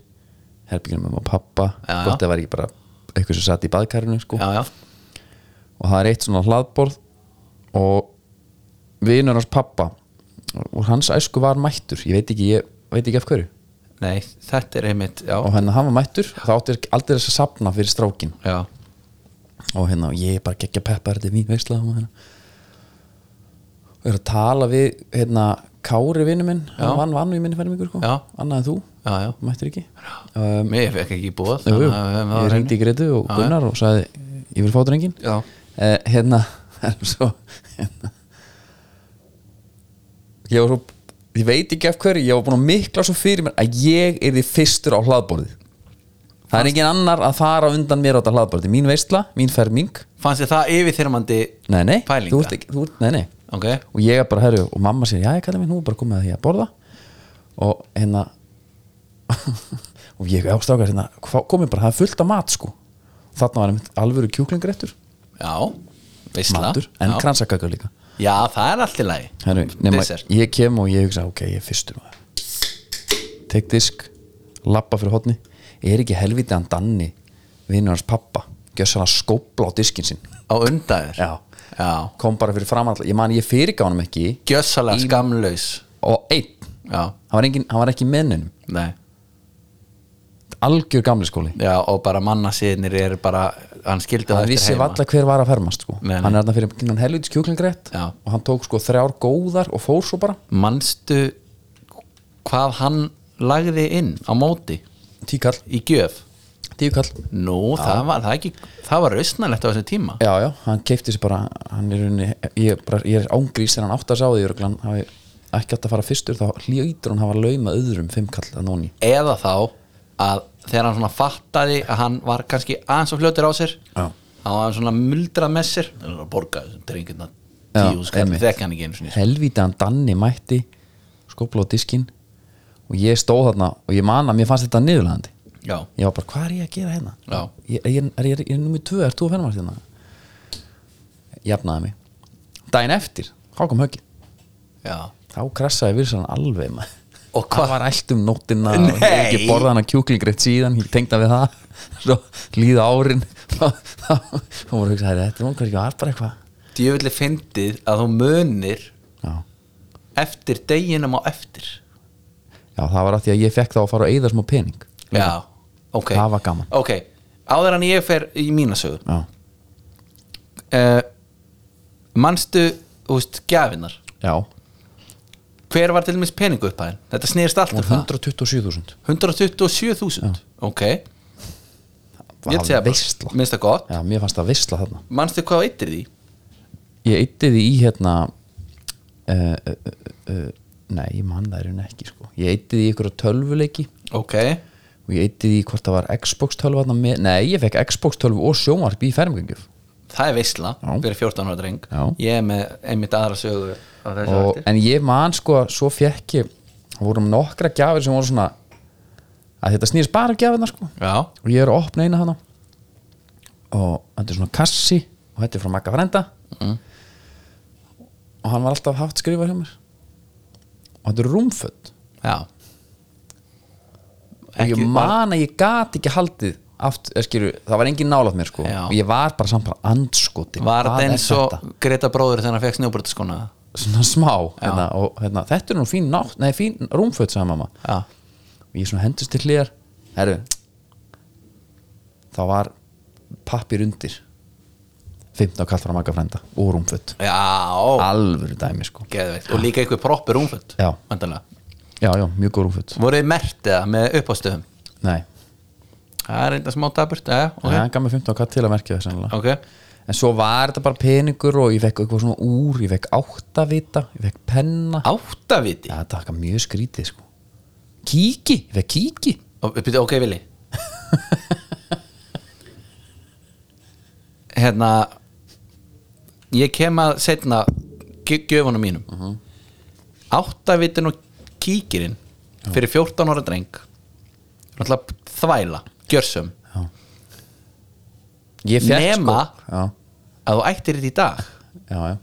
Speaker 1: herbygginu með maður pappa
Speaker 2: Já.
Speaker 1: gott það var ekki bara eitthvað sem satt í baðkarinu sko.
Speaker 2: Já, já,
Speaker 1: og það er eitt svona hlaðborð og vinur hans pappa og hans æsku var mættur ég veit ekki, ég veit ekki af hverju
Speaker 2: nei, þetta er einmitt Já,
Speaker 1: og hérna hann var mættur þá átti aldrei þess að sapna fyrir strákin
Speaker 2: já,
Speaker 1: og hérna og ég er bara geggja peppa þetta er mín veisla og hérna og er að tala við hérna Kári vinnu minn hann vann vann í minni fermingur sko
Speaker 2: Já.
Speaker 1: annað en þú
Speaker 2: já, já
Speaker 1: mættir ekki um,
Speaker 2: Mér fekk ekki búið
Speaker 1: jú, jú. ég ringdi í Gretu og
Speaker 2: Já,
Speaker 1: Gunnar og sagði ég vil fá drengin
Speaker 2: Já,
Speaker 1: eh, hérna en svo hérna ég var svo ég veit ekki af hverju, ég var búin að mikla svo fyrir mér að ég er því fyrstur á hlaðborðið það er engin annar að fara undan mér á þetta hlaðborðið, mín veisla, mín ferming
Speaker 2: fannst þið það yfirþyrmandi
Speaker 1: nei, nei,
Speaker 2: Pælinga.
Speaker 1: þú ert ekki, þú ert, nei, nei
Speaker 2: Ok,
Speaker 1: og ég er bara, herru, og mamma sér, já, ég kallar mér nú er bara komið að því að borða og hérna og ég ástrákar hérna, hvað- komið bara, það er fullt af mat, sko þarna var einmitt alvöru kjúklingréttur
Speaker 2: já Veistla
Speaker 1: matur, en
Speaker 2: já.
Speaker 1: kransakakar líka
Speaker 2: já, það er allt í lagi
Speaker 1: herru, nema,
Speaker 2: Dessert.
Speaker 1: ég kem og ég hugsa, ok, ég er fyrstur maður tek disk lappa fyrir hotni, er ekki helviti hann danni, vinnur hans pappa gjössan að skópla á diskin sinn
Speaker 2: Á undaður
Speaker 1: já,
Speaker 2: já.
Speaker 1: kom bara fyrir framall ég man, ég fyrirgánum ekki
Speaker 2: Gjössalega skamlaus
Speaker 1: og einn
Speaker 2: Já,
Speaker 1: hann var, engin, hann var ekki mennunum
Speaker 2: nei
Speaker 1: algjör gamli skóli
Speaker 2: Já, og bara manna síðanir er bara hann skildi
Speaker 1: hann
Speaker 2: það
Speaker 1: vissi
Speaker 2: eftir heima
Speaker 1: valla hver var að fermast sko.
Speaker 2: Nei, nei.
Speaker 1: hann er þarna fyrir hann helvitis kjúklingrætt
Speaker 2: Já.
Speaker 1: og hann tók sko þrjár góðar og fór svo bara
Speaker 2: Manstu hvað hann lagði inn á móti
Speaker 1: tíu kall,
Speaker 2: í gjöf
Speaker 1: tíu kall
Speaker 2: Nú, það var, það, ekki, það var rausnalegt á þessum tíma
Speaker 1: já, já, hann keipti sér bara hann er unni, ég, er bara, ég er ángrís þegar hann átt að sá því örugglega, hann hafi ekki átt að fara fyrstur þá hljóður hann hafa lauma öðrum fimm kall að nóni
Speaker 2: Eða þá að þegar hann svona fattaði að hann var kannski aðeins og fljótur á sér
Speaker 1: Já.
Speaker 2: hann var svona muldrað með sér hann var að borga þessum drengirna
Speaker 1: Já,
Speaker 2: tíu skall
Speaker 1: einmitt.
Speaker 2: þekka hann ekki einu sinni sko.
Speaker 1: helvítið hann danni mætti skopla á diskin og ég stóð þarna og ég man að mér fannst þetta niðurlegandi
Speaker 2: Já,
Speaker 1: ég var bara, hvað er ég að gera hérna
Speaker 2: Já.
Speaker 1: ég, ég, er, ég, er, ég er nummið tvö, er þú að fennast hérna jafnaði mig daginn eftir, þá kom höggið
Speaker 2: já
Speaker 1: þá krassaði virsan alveg maður
Speaker 2: Og
Speaker 1: það
Speaker 2: hvað,
Speaker 1: var allt um nóttina og ég hef
Speaker 2: Nei.
Speaker 1: ekki borðað hana kjúklingrétt síðan ég tengda við það svo líða árin þá þá- þá voru að hugsa, "Herri, þetta var kannski var bara eitthvað
Speaker 2: djöfulli fyndið að þú munir
Speaker 1: já.
Speaker 2: eftir deginum á eftir
Speaker 1: já, það var að því að ég fekk þá að fara að eyða smá pening
Speaker 2: já, ok
Speaker 1: Það var gaman.
Speaker 2: ok, áður en ég fer í mína sögu
Speaker 1: já,
Speaker 2: uh, manstu, þú veist, gjafinnar
Speaker 1: já
Speaker 2: hver var til dæmis peningu upphæðin þetta snýrst allt um
Speaker 1: og
Speaker 2: það
Speaker 1: 127.000
Speaker 2: 127.000 ok,
Speaker 1: Það
Speaker 2: ég
Speaker 1: var
Speaker 2: sé það
Speaker 1: veisla.
Speaker 2: bara, minnst það gott
Speaker 1: Já, mér fannst það veistla þarna
Speaker 2: manstu hvað eittir því?
Speaker 1: Ég eitti því í hérna uh, uh, uh, uh, Nei, ég man það er hún ekki sko. Ég eitti því í ykkur tölvuleiki
Speaker 2: ok,
Speaker 1: og ég eitti því hvort það var Xbox 12 þarna með, Nei, ég fekk Xbox 12 og sjónvarp í fermingjöf
Speaker 2: það er veisla
Speaker 1: Já.
Speaker 2: fyrir 14 ára dreng
Speaker 1: Já.
Speaker 2: ég er með einmitt aðra sögu á þessu
Speaker 1: og,
Speaker 2: eftir.
Speaker 1: En ég man sko að svo fekk ég það vorum nokkra gjafir sem voru svona að þetta snýðist bara gjafirna sko
Speaker 2: já,
Speaker 1: og ég er að opna eina hana og þetta er svona kassi og þetta er frá Magga Frenda
Speaker 2: Mm.
Speaker 1: og hann var alltaf haft skrifað hjá mér og þetta er rúmföld
Speaker 2: já
Speaker 1: og ég
Speaker 2: Ekki-
Speaker 1: man að ég gat ekki haldið aft, er, skilu, það var engin nálað mér sko
Speaker 2: Já.
Speaker 1: og ég var bara samt bara andskoti
Speaker 2: Var þetta eins og Greta bróður þegar hann fekk snjóbrutaskona?
Speaker 1: svona smá hérna, og hérna, þetta er nú fín, nátt, nei, fín rúmföld sagði mamma
Speaker 2: Já,
Speaker 1: og ég svona hendust til hliðar herru þá var pappir undir 15 kall frá maga frænda og rúmfött
Speaker 2: já ó,
Speaker 1: alvöru dæmi sko
Speaker 2: geðveikt Og líka einhver proppur umföld
Speaker 1: Ah. Já.
Speaker 2: Voruð
Speaker 1: já, já, mjög góð rúmfött
Speaker 2: þið merkt eða með uppástöðum?
Speaker 1: nei,
Speaker 2: Það er eitthvað smá daburt, já,
Speaker 1: okay.
Speaker 2: ok,
Speaker 1: hann gaf mér 15 kall til að merkja það sennilega
Speaker 2: ok
Speaker 1: en svo var þetta bara peningur og ég fekk eitthvað svona úr ég fekk áttavita, ég fekk
Speaker 2: Ah.
Speaker 1: penna
Speaker 2: Áttaviti?
Speaker 1: já, þetta var mjög skrítið sko kíki, ég fekk kíki
Speaker 2: Og- byrju, Ok, Vili Hérna Ég kem að setna gjöfunum mínum uh
Speaker 1: Mhm.
Speaker 2: -huh. Áttavitin og kíkirinn fyrir 14 ára dreng náttúrulega þvæla, gjörsum
Speaker 1: ég fekk
Speaker 2: Nema-
Speaker 1: sko já,
Speaker 2: að þú ættir þetta í dag
Speaker 1: já, já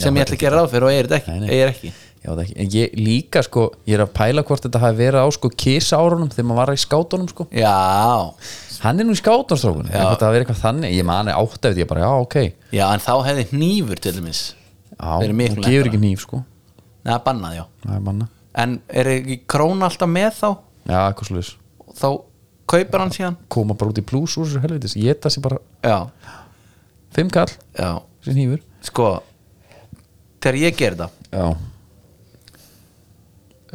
Speaker 2: sem ég ætla að gera ráð fyrir og eigir þetta ekki,
Speaker 1: Nei, nei.
Speaker 2: eigir ekki.
Speaker 1: Já, það ekki, en ég líka sko ég er að pæla hvort þetta hafi verið á sko kísárunum þegar maður var í skátunum sko
Speaker 2: Já,
Speaker 1: hann er nú í skátunstrókunum, hvort það hafi verið eitthvað þannig ég mani átt eftir, ég bara, já, ok
Speaker 2: já, en þá hefði hnífur til dæmis
Speaker 1: já,
Speaker 2: Verið miklu
Speaker 1: það gefur ekki nýf sko
Speaker 2: Nei, það bannað, já
Speaker 1: það er manna,
Speaker 2: En er ekki króna alltaf með þá
Speaker 1: já, eitthvað sluðis
Speaker 2: þá kaupar hann síðan
Speaker 1: koma bara út í plús úr þessu helvitis, ég það sé bara
Speaker 2: Já,
Speaker 1: fimm kall,
Speaker 2: já,
Speaker 1: sem nýfur
Speaker 2: sko þegar ég ger það
Speaker 1: já,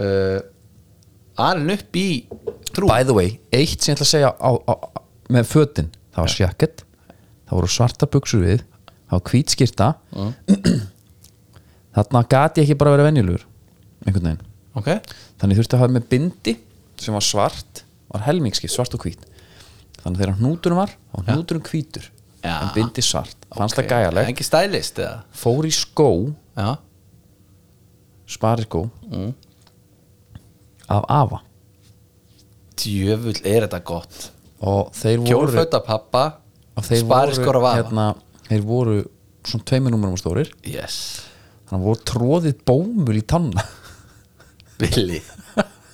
Speaker 2: uh, alin upp í trú
Speaker 1: by the way, eitt sem ég ætla að segja á, á, á, með fötin, það var sjakett það voru svarta buksur við það var hvítskirta þarna gat ég ekki bara að vera venjulegur einhvern veginn
Speaker 2: Ok,
Speaker 1: þannig þurfti að hafa með bindi sem var svart, var helmingskipt svart og hvít þannig þegar hnúturinn var, þá var hnúturinn hvítur
Speaker 2: Já.
Speaker 1: en bindi svart, fannst
Speaker 2: ok.
Speaker 1: það gæjalegt
Speaker 2: Ekki stælist eða
Speaker 1: fór í skó,
Speaker 2: Já,
Speaker 1: spari skó
Speaker 2: Mm.
Speaker 1: af afa
Speaker 2: djöfull er þetta gott
Speaker 1: og þeir voru,
Speaker 2: Kjólföt af pappa
Speaker 1: og þeir
Speaker 2: Spariskor
Speaker 1: voru hérna,
Speaker 2: af afa
Speaker 1: þeir voru svona tveimur númurum stórir
Speaker 2: Yes
Speaker 1: þannig að voru tróðið bómul í tanna
Speaker 2: Billy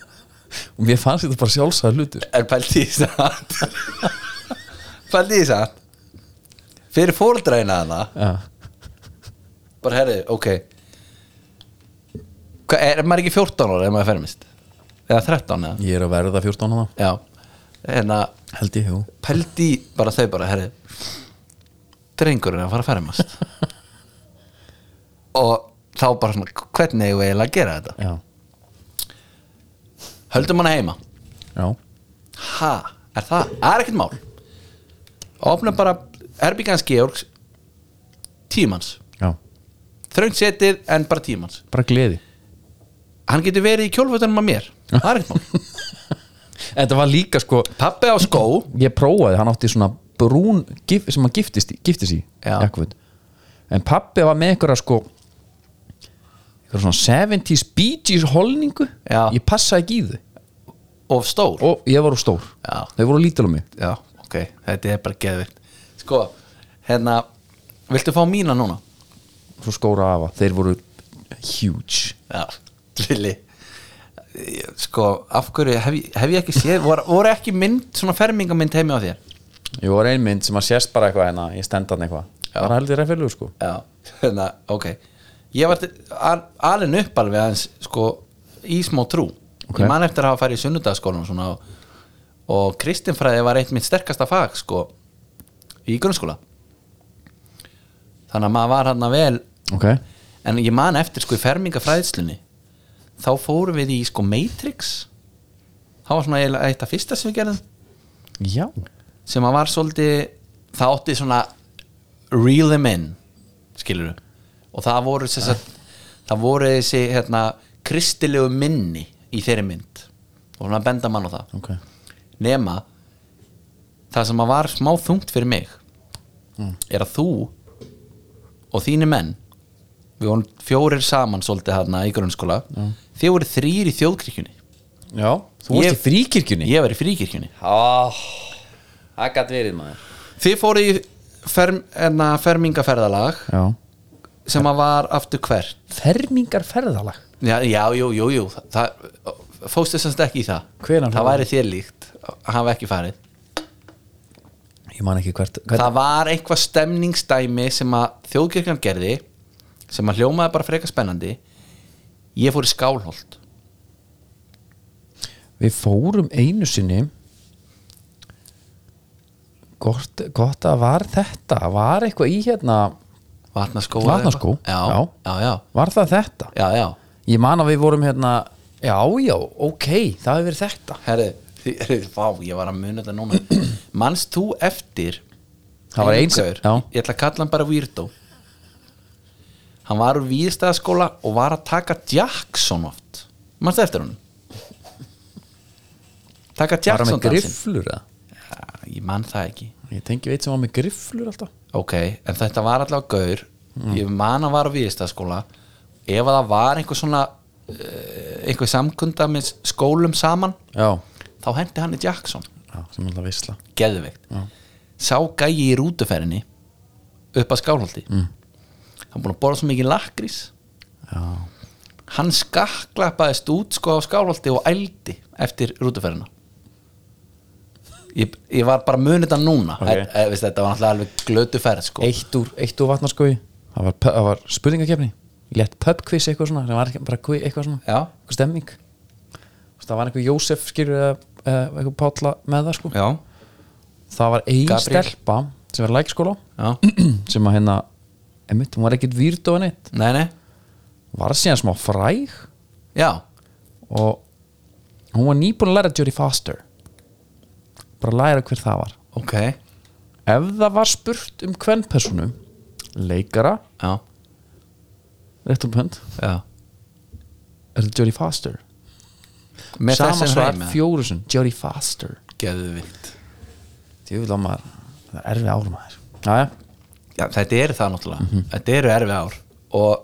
Speaker 1: og mér fannst þetta bara sjálfsæða hlutur
Speaker 2: En pældi því samt Pældi því samt Fyrir fóldræna hana
Speaker 1: ja.
Speaker 2: Bara herri, ok Hva, Er er maður ekki 14 ára ef maður fermist? Eða 13 eða?
Speaker 1: ég er að verða 14 ára
Speaker 2: Já En að
Speaker 1: held ég, jú
Speaker 2: pældi í- bara þau bara herri Drengurinn er að fara að fermast Og þá bara svona Hvernig eigum við eiginlega að gera þetta?
Speaker 1: já,
Speaker 2: Höldum hana heima
Speaker 1: já,
Speaker 2: Ha, er það? Það er ekkert mál Opna bara Herbygans Georgs Tímans
Speaker 1: já,
Speaker 2: Þröngt setið en bara tímans
Speaker 1: bara gleði
Speaker 2: Hann getur verið í kjólfötunum að mér Það er ekkert mál
Speaker 1: þetta var líka sko
Speaker 2: Pappi á skó
Speaker 1: ég prófaði, hann átti svona brún gif, sem hann giftist, í- giftist í
Speaker 2: Já.
Speaker 1: jakkaföt. en pappi var með einhverja sko einhverja svona 70s Bee Gees holningu
Speaker 2: Já.
Speaker 1: ég passaði ekki í þau
Speaker 2: Of stór
Speaker 1: og ég var úr stór,
Speaker 2: Já.
Speaker 1: þau voru lítil á mig
Speaker 2: Já, ok, þetta er bara geðvikt Sko, hérna Viltu fá mína núna?
Speaker 1: svo skóra afa, þeir voru huge
Speaker 2: Já, Lili Ég- Sko, af hverju hef ég, hef ég ekki séð voru, voru ekki mynd, svona fermingamynd heimi á þér?
Speaker 1: ég var ein mynd sem að sést bara eitthvað hérna, ég stend hann eitthvað það var heldur eftir sko
Speaker 2: Já þannig að, ok ég var alveg upp alveg aðeins sko, í smá trú
Speaker 1: Ok.
Speaker 2: ég man eftir að hafa farið í sunnudagaskólan og svona, og, og kristinfræði var eitt mitt sterkasta fag sko, í grunnskóla þannig að maður var hann vel
Speaker 1: ok,
Speaker 2: en ég man eftir sko í fermingafræðslunni þá fórum við í sko Matrix það var svona eiginlega eitt af fyrsta sem við gerðum
Speaker 1: já
Speaker 2: sem að var svolítið það átti svona reel them in skilur og það voru þess að það voru þessi hérna kristilegu minni í þeirri mynd og svona benda mann á það
Speaker 1: ok,
Speaker 2: nema það sem að var smá þungt fyrir mig er að þú og þínu menn við vorum fjórir saman svolítið hérna í grunnskóla þið voru þrýr í þjóðkirkjunni
Speaker 1: já þú varst
Speaker 2: Ég-
Speaker 1: í fríkirkjunni
Speaker 2: ég var í fríkirkjunni
Speaker 1: oh, það gæti verið maður
Speaker 2: þið fóru í ferm, hérna, enna, fermingaferðalag
Speaker 1: já,
Speaker 2: sem að var aftur hvert
Speaker 1: fermingar ferðalag
Speaker 2: já, já, jú, jú, jú það, fóstu semst ekki í það
Speaker 1: Hvenær
Speaker 2: það
Speaker 1: fór
Speaker 2: væri þér líkt að hafa ekki farið
Speaker 1: ég man ekki hvert, hvert
Speaker 2: það var eitthvað stemningsdæmi sem að þjóðkirkjan gerði sem að hljómaði bara freka spennandi ég fór í skálholt
Speaker 1: við fórum einu sinni gott, gott að var þetta var eitthvað í hérna
Speaker 2: vatnaskó eða
Speaker 1: Vatnaskó?
Speaker 2: eitthvað. já, já, já,
Speaker 1: var það þetta
Speaker 2: já, já.
Speaker 1: ég man að við vorum hérna já, já, ok, það hefur verið þetta
Speaker 2: herri, þið- herri, vá, ég var að muna þetta núna manst þú eftir
Speaker 1: Það var
Speaker 2: einum
Speaker 1: eins-
Speaker 2: gaur,
Speaker 1: já.
Speaker 2: ég ætla að kalla hann bara Weirdo hann var úr výðstæðaskóla og var að taka Jackson oft mannstu eftir hann taka
Speaker 1: var það
Speaker 2: Jackson
Speaker 1: með grifflur eða?
Speaker 2: dansinn. Já, ég man það ekki
Speaker 1: ég tengi veit sem var með grifflur alltaf
Speaker 2: ok, en þetta var allavega gaur ég man að var á výðstæðaskóla ef að það var einhver svona uh, einhver samkunda með skólum saman
Speaker 1: já,
Speaker 2: þá hendi hann í Jackson
Speaker 1: já sem alltaf visla
Speaker 2: geðveikt sá gæi í rútuferðinni upp að skálholti mm. hann búin að borða svo mikið lakrís
Speaker 1: já,
Speaker 2: hann skakklappaðist út sko á skálholti og ældi eftir rútuferðina ég, ég var bara munið þetta núna
Speaker 1: Ok.
Speaker 2: okay. e, e, veist, þetta var náttúrulega alveg glötu ferð sko.
Speaker 1: eitt úr, eitt úr vatnarskói það var, það var spurningakefni létt pubquiz eitthvað svona það var ekki- bara kvi- eitthvað svona
Speaker 2: já,
Speaker 1: eitthvað stemming Þú veist, það var einhver Jósef skýrur eða eða einhver Pálla með það sko
Speaker 2: já,
Speaker 1: það var ein
Speaker 2: Gabriel.
Speaker 1: stelpa sem var í lækskóla
Speaker 2: já
Speaker 1: sem að hérna einmitt, hún var ekkit výrt og neitt
Speaker 2: nei, nei,
Speaker 1: var síðan smá fræg
Speaker 2: já
Speaker 1: og hún var nýbúin að læra Jodie Foster bara að læra hver það var
Speaker 2: ok,
Speaker 1: ef það var spurt um kvennpersonu leikara,
Speaker 2: já,
Speaker 1: rétt um hönd
Speaker 2: já
Speaker 1: er það Jodie Foster
Speaker 2: með
Speaker 1: sama
Speaker 2: þessum
Speaker 1: svar
Speaker 2: hreim
Speaker 1: fjórusun, Jodie Foster
Speaker 2: geðvikt
Speaker 1: djúvill á maður, það er erfið árum maður Jæja,
Speaker 2: já, þetta eru það náttúrulega þetta eru erfi ár og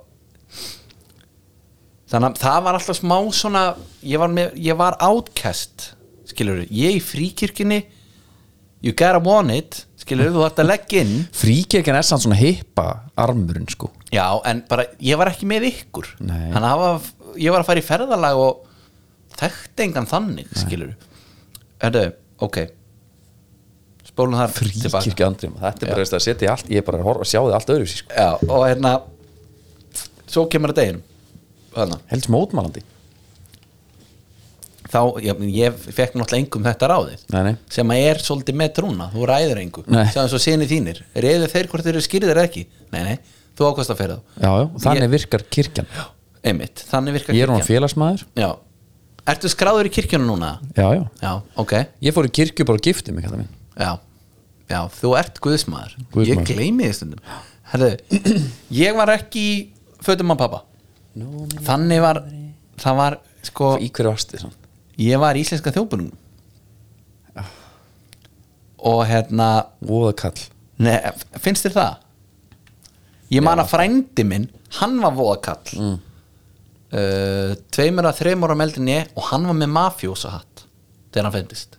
Speaker 2: þannig að það var alltaf smá svona ég var, með, ég var outcast skilur ég í fríkirkjunni you gotta want it skilur þú ætti að leggja inn
Speaker 1: fríkirkjan er samt svona hippa armurinn sko
Speaker 2: já, en bara ég var ekki með ykkur
Speaker 1: Nei.
Speaker 2: þannig að það var- ég var að fara í ferðalag og þekkti engan þannig skilur Erðu, ok spólum þar tilbaka.
Speaker 1: fríkirkja andrið maður, þetta er bara veist, að setja í allt ég er bara að horfa að sjá þið allt öðru sko.
Speaker 2: já, og hérna svo kemur að deginum hérna
Speaker 1: helst mótmælandi
Speaker 2: þá, ég, ég fekk náttúrulega engum þetta ráðið
Speaker 1: nei, nei.
Speaker 2: sem að er svolítið með trúna, þú ræður engu
Speaker 1: Nei.
Speaker 2: sem svo sinni þínir, reyðu þeir hvort þeir eru skýrðir eða ekki, nei nei, þú ákvast að fyrir þá
Speaker 1: Já, já, þannig virkar kirkjan
Speaker 2: einmitt, þannig virkar
Speaker 1: ég er hún félagsmaður
Speaker 2: já, ertu skráður í kirkjuna núna?
Speaker 1: já, já.
Speaker 2: já, ok,
Speaker 1: ég fór í kirkju bara og gifti mig kallar minn.
Speaker 2: já já, þú ert guðsmaður, ég
Speaker 1: Guðsmaður.
Speaker 2: gleymi því stundum Herðu, ég var ekki í fötum að pappa þannig var, það var sko,
Speaker 1: í hverju varstu samt?
Speaker 2: ég var í íslenska þjóðbunum og hérna
Speaker 1: voða kall
Speaker 2: Nei, f- finnst þér það? Ég man að frændi minn hann var voðakall mm. uh, tveimur að þreimur á meldin ég og hann var með mafjósa hatt þegar hann fendist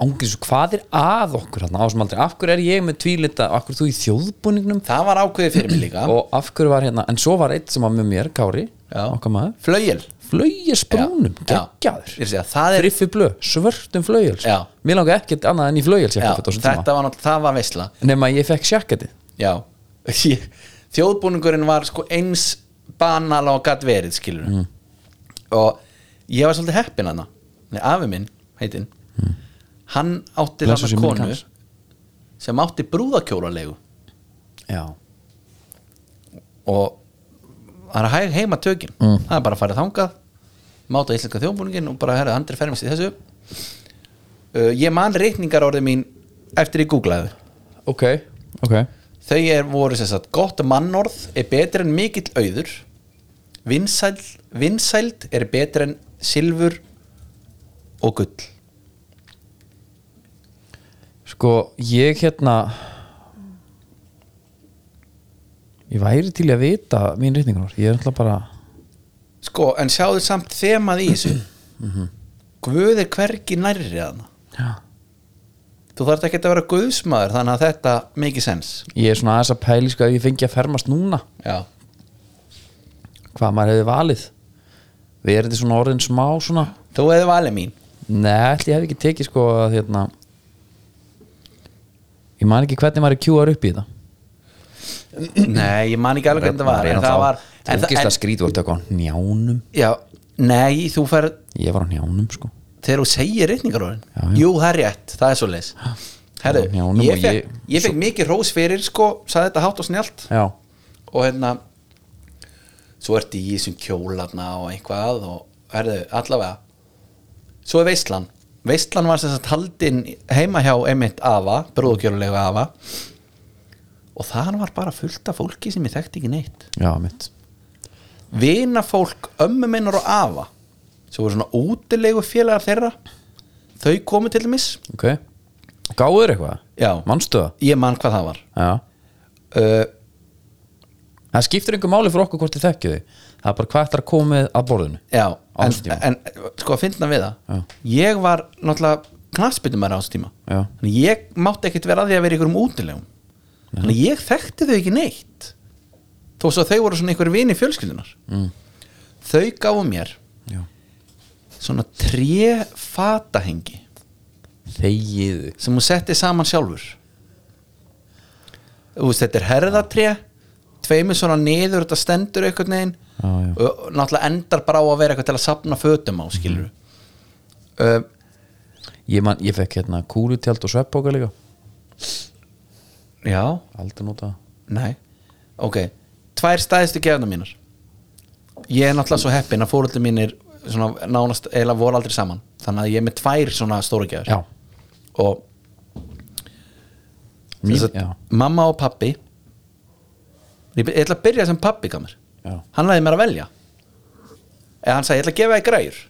Speaker 1: Ángriðs, hvað er að okkur hérna á þessum aldrei? Af hverju er ég með tvílita? Af hverju ert þú í þjóðbúningnum?
Speaker 2: Það var ákveðið fyrir mig líka
Speaker 1: Og af hverju var hérna? En svo var eitt sem var með mér, Kári,
Speaker 2: Já.
Speaker 1: okkar maður
Speaker 2: Flögil
Speaker 1: Flögir sprúnum,
Speaker 2: Já.
Speaker 1: geggjaður
Speaker 2: Ég sé að það er-
Speaker 1: Friffi blöð, svörtum flögils
Speaker 2: Já.
Speaker 1: Mér langa ekkert annað en í flögils
Speaker 2: Já, þetta var náttúrulega, það var veisla
Speaker 1: Nefn að ég fekk sjakketti
Speaker 2: Já ég, þjóðbúningurinn var sko eins banal á gatt verið skilur
Speaker 1: Mm.
Speaker 2: og ég var svolítið heppin hana Nei, afi minn, heitinn hann átti
Speaker 1: Mm. Blessuð sé
Speaker 2: þarna
Speaker 1: minning
Speaker 2: konu
Speaker 1: hans.
Speaker 2: sem átti brúðakjólalegu
Speaker 1: já,
Speaker 2: og hann er hæg heima tökin mm. það er bara að fara þangað máta íslenska þjóðbúningin og bara herra andri fermist í þessu uh, ég man reikningar orðið mín eftir ég googlaði
Speaker 1: ok, ok
Speaker 2: þau er, voru sem sagt gott mannorð er betur en mikill auður vinsæld, vinsæld er betur en silfur og gull
Speaker 1: sko, ég hérna ég væri til í að vita mín reyningur, ég er alltaf bara
Speaker 2: sko, en sjáðu samt þemað í þessu Guð er hvergi nærri að
Speaker 1: já.
Speaker 2: þú þarft ekki að vera guðsmaður þannig að þetta mikið sens
Speaker 1: ég er svona aðeins að pæli sko ef ég fengi að fermast núna
Speaker 2: já,
Speaker 1: hvað maður hefði valið við erum þetta svona orðin smá svona
Speaker 2: þú hefði valið mín
Speaker 1: Nei, ætli ég hef ekki tekið sko að hérna Ég man ekki hvernig maður er kjúar upp í þetta
Speaker 2: Nei, ég man ekki alveg hvernig það var En það var en það,
Speaker 1: Þungist að
Speaker 2: en,
Speaker 1: skrýt var þetta á njánum
Speaker 2: já, Nei, þú fer
Speaker 1: Ég var á njánum sko
Speaker 2: Þegar þú segir reyningarorðin
Speaker 1: já.
Speaker 2: Jú, það er rétt, það er svo leis Herru,
Speaker 1: Já, nú
Speaker 2: ég
Speaker 1: og
Speaker 2: fekk,
Speaker 1: ég-
Speaker 2: ég fekk mikið rós fyrir sko, sagði þetta hátt og snjált
Speaker 1: Já,
Speaker 2: og hérna svo ertu í þessum kjólarna og eitthvað og herðu, allavega svo er veislan veislan var sem sagt haldin heima hjá Emmett Ava, brúðkjörulega Ava og þar var bara fullt af fólki sem ég þekkti ekki neitt
Speaker 1: já mitt
Speaker 2: vinafólk ömmu minnar og afa sem voru svona útilegu félagar þeirra þau komu til dæmis
Speaker 1: Ok Gáður eitthvað?
Speaker 2: Já.
Speaker 1: Manstu það?
Speaker 2: ég man hvað það var
Speaker 1: Já
Speaker 2: uh,
Speaker 1: Það skiptir einhver máli fyrir okkur hvort þið þekkið þið Það er bara hvað þetta er komið að borðinu
Speaker 2: já, en,
Speaker 1: þessu tíma.
Speaker 2: en sko að finna við það ég var náttúrulega knarsbytumæri á þessu tíma
Speaker 1: Já.
Speaker 2: Þannig ég mátti ekkit vera að því að vera í einhverjum útilegum þannig að ég þekkti þau ekki neitt þó svo að þau voru svona einhverjum vini fjölskyldunar mm. þau gáfu mér
Speaker 1: Já
Speaker 2: svona tré fatahengi
Speaker 1: Þegiðu
Speaker 2: sem hún setti saman sjálfur Þú veist, þetta er herðatré tveimur svona niður, þetta stendur einhvern veginn
Speaker 1: Já, já.
Speaker 2: og náttúrulega endar bara á að vera eitthvað til að sapna fötum á skilur
Speaker 1: Mhm. Ég, man, ég fekk hérna kúlutjald og sveppbóka líka
Speaker 2: já,
Speaker 1: Aldrei nota það
Speaker 2: nei ok, tvær stæðistu gefna mínar ég er náttúrulega svo heppin að fóröldur mínir svona nánast eða voru aldrei saman þannig að ég er með tvær svona stóra gefur
Speaker 1: Já
Speaker 2: og
Speaker 1: Mín-
Speaker 2: Sem sagt,
Speaker 1: já.
Speaker 2: mamma og pappi ég be- ég ætla að byrja sem pappi gamur
Speaker 1: Já.
Speaker 2: hann laði mér að velja eða hann sagði ég ætla að gefa þér græjur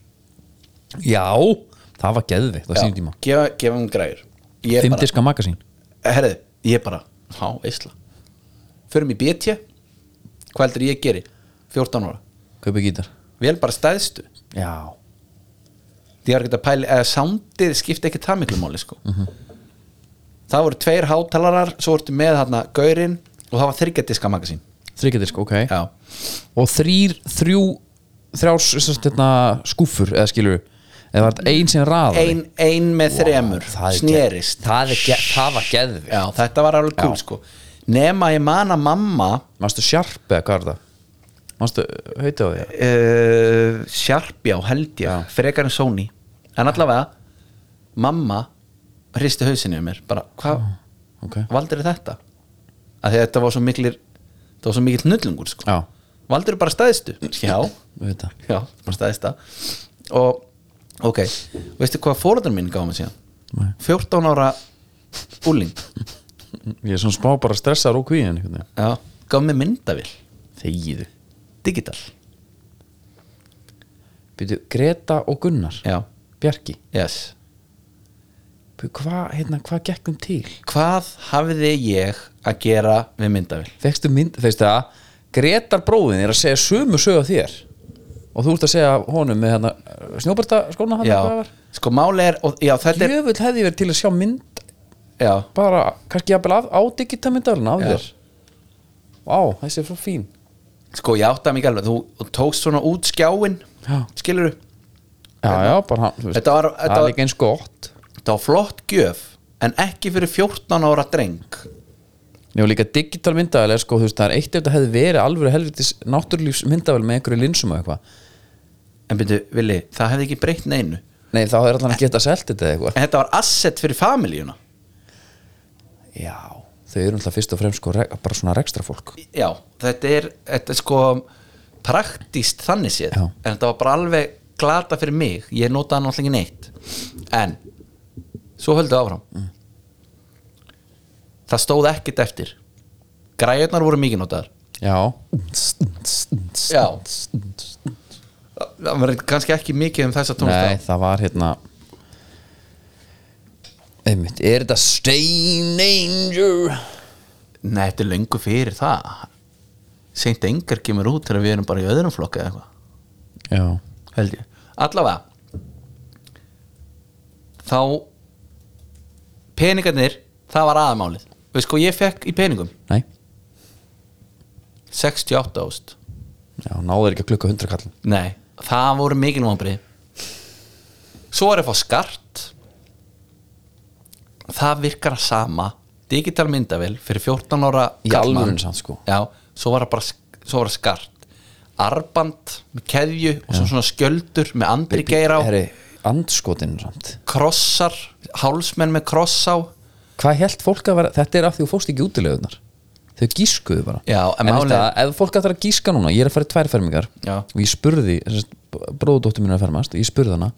Speaker 1: Já Það var geðvikt á sínum tíma
Speaker 2: gefa, gefa hann græjur ég bara,
Speaker 1: Fymdiska magasín
Speaker 2: herðu, ég bara há, eisla förum í BT hvað heldur ég geri 14 ára,
Speaker 1: Kaupi gítar
Speaker 2: vel bara stæðstu
Speaker 1: Já
Speaker 2: því var ekki að pæla eða soundið skipti ekki það miklu máli sko það voru tveir hátalarar svo voru með hérna gaurinn og það var þryggjadiska magasín
Speaker 1: Þryggjadisk, ok
Speaker 2: já,
Speaker 1: Og þrýr, þrjú, þrjár sérst, hérna, skúfur Eða skilur Eða var þetta ein sem raðar
Speaker 2: ein, ein með þremur
Speaker 1: það er ge-
Speaker 2: snerist
Speaker 1: það, er ge- það var geðvikt
Speaker 2: já, þetta var alveg kúl sko nema ég man að mamma
Speaker 1: Manstu sjarp eða hvað er það? Manstu eh, heiti á því?
Speaker 2: uh, sjarpjá held ég frekar en Sony en allavega mamma hristi hausinu um mér bara hvað
Speaker 1: Mm. Ok
Speaker 2: valdir þetta að því að þetta var svo miklir það var svo mikill nullungur sko
Speaker 1: Já,
Speaker 2: valdir bara stæðstu já,
Speaker 1: við veit það
Speaker 2: já, bara stæðsta og ok, veistu hvað fóröldur minn gáði mig síðan
Speaker 1: Nei.
Speaker 2: 14 ára úling
Speaker 1: Ég er svona smá bara stressar og kvíðin einhvern veginn.
Speaker 2: já, gáði mig myndavill
Speaker 1: Þegiðu
Speaker 2: digital
Speaker 1: Býtu, Greta og Gunnar
Speaker 2: já,
Speaker 1: Bjarki
Speaker 2: yes
Speaker 1: Býtu, Hvað, hérna, hvað gekkum til?
Speaker 2: hvað hafði ég að gera við myndavill
Speaker 1: Fekstu mynd, feistu það Gretar bróðin er að segja sömu sögu af þér og þú ert að segja honum með hérna snjóbarta skóna hann eða
Speaker 2: já,
Speaker 1: hvað var
Speaker 2: sko máli er og, já, þetta er,
Speaker 1: Jöfull hefði ég verið til að sjá mynd
Speaker 2: já,
Speaker 1: bara, kannski jafnvel af, á digitamindalina af
Speaker 2: Já.
Speaker 1: þér Vá, þessi er svo fín
Speaker 2: sko ég átta mig ekki alveg þú þú tókst svona út skjáin
Speaker 1: Já.
Speaker 2: skilur
Speaker 1: Já, já, bara hann, þú veist,
Speaker 2: Þetta var- þetta
Speaker 1: það
Speaker 2: var-
Speaker 1: er ekki eins gott
Speaker 2: þetta var flott gjöf en ekki fyrir 14 ára dreng
Speaker 1: Já, líka digital myndavel er sko, þú veist, það er eitt ef þetta hefði verið alvöru helvitis náttúrlífs myndavel með einhverju linsum og eitthvað
Speaker 2: En byrju, Vili, það hefði ekki breytt neinu
Speaker 1: Nei, þá er allan að geta selt þetta eða eitthvað
Speaker 2: En þetta var asset fyrir familíuna
Speaker 1: Já, þau eru alltaf fyrst og fremst sko, re- bara svona rekstra fólk
Speaker 2: Já, þetta er, þetta er sko praktíst þannig séð
Speaker 1: Já.
Speaker 2: En þetta var bara alveg glata fyrir mig Ég notaði hann alltaf ekki neitt En, svo höldu áfram Mm. Það stóð ekkert eftir Græjurnar voru mikið notaðar
Speaker 1: Já
Speaker 2: Já. Það- Það var kannski ekki mikið um þessa tónlist
Speaker 1: Nei, það var hérna Einmitt, er þetta Stein Angel?
Speaker 2: Nei, þetta er löngu fyrir það Seint engar kemur út þegar við erum bara í öðrum flokka eða eitthvað
Speaker 1: Já,
Speaker 2: held ég allavega þá peningarnir, það var aðamálið veist sko, ég fekk í peningum
Speaker 1: nei
Speaker 2: 68 ást
Speaker 1: Já, náður ekki að klukka 100 kall
Speaker 2: nei, það voru mikil vombrið svo er ég að fá skart það virkar að sama digital myndavel fyrir 14 ára
Speaker 1: Í
Speaker 2: karlmann.
Speaker 1: alvörunni samt, sko.
Speaker 2: já, svo var það bara sk- svo var það skart arband með keðju og svo svona skjöldur með andri geir á
Speaker 1: Herri, andskotinn samt
Speaker 2: krossar, hálsmenn með kross á
Speaker 1: Hvað held fólk að vera, þetta er af því þú fórst ekki útilegunar Þau gískuðu bara
Speaker 2: Já, en
Speaker 1: en
Speaker 2: málið-
Speaker 1: máli... ef fólk ætlar að gíska núna, ég er að fara í tværfermingar
Speaker 2: Já.
Speaker 1: og ég spurði, bróðdóttir mínu er að fermast og ég spurði hana,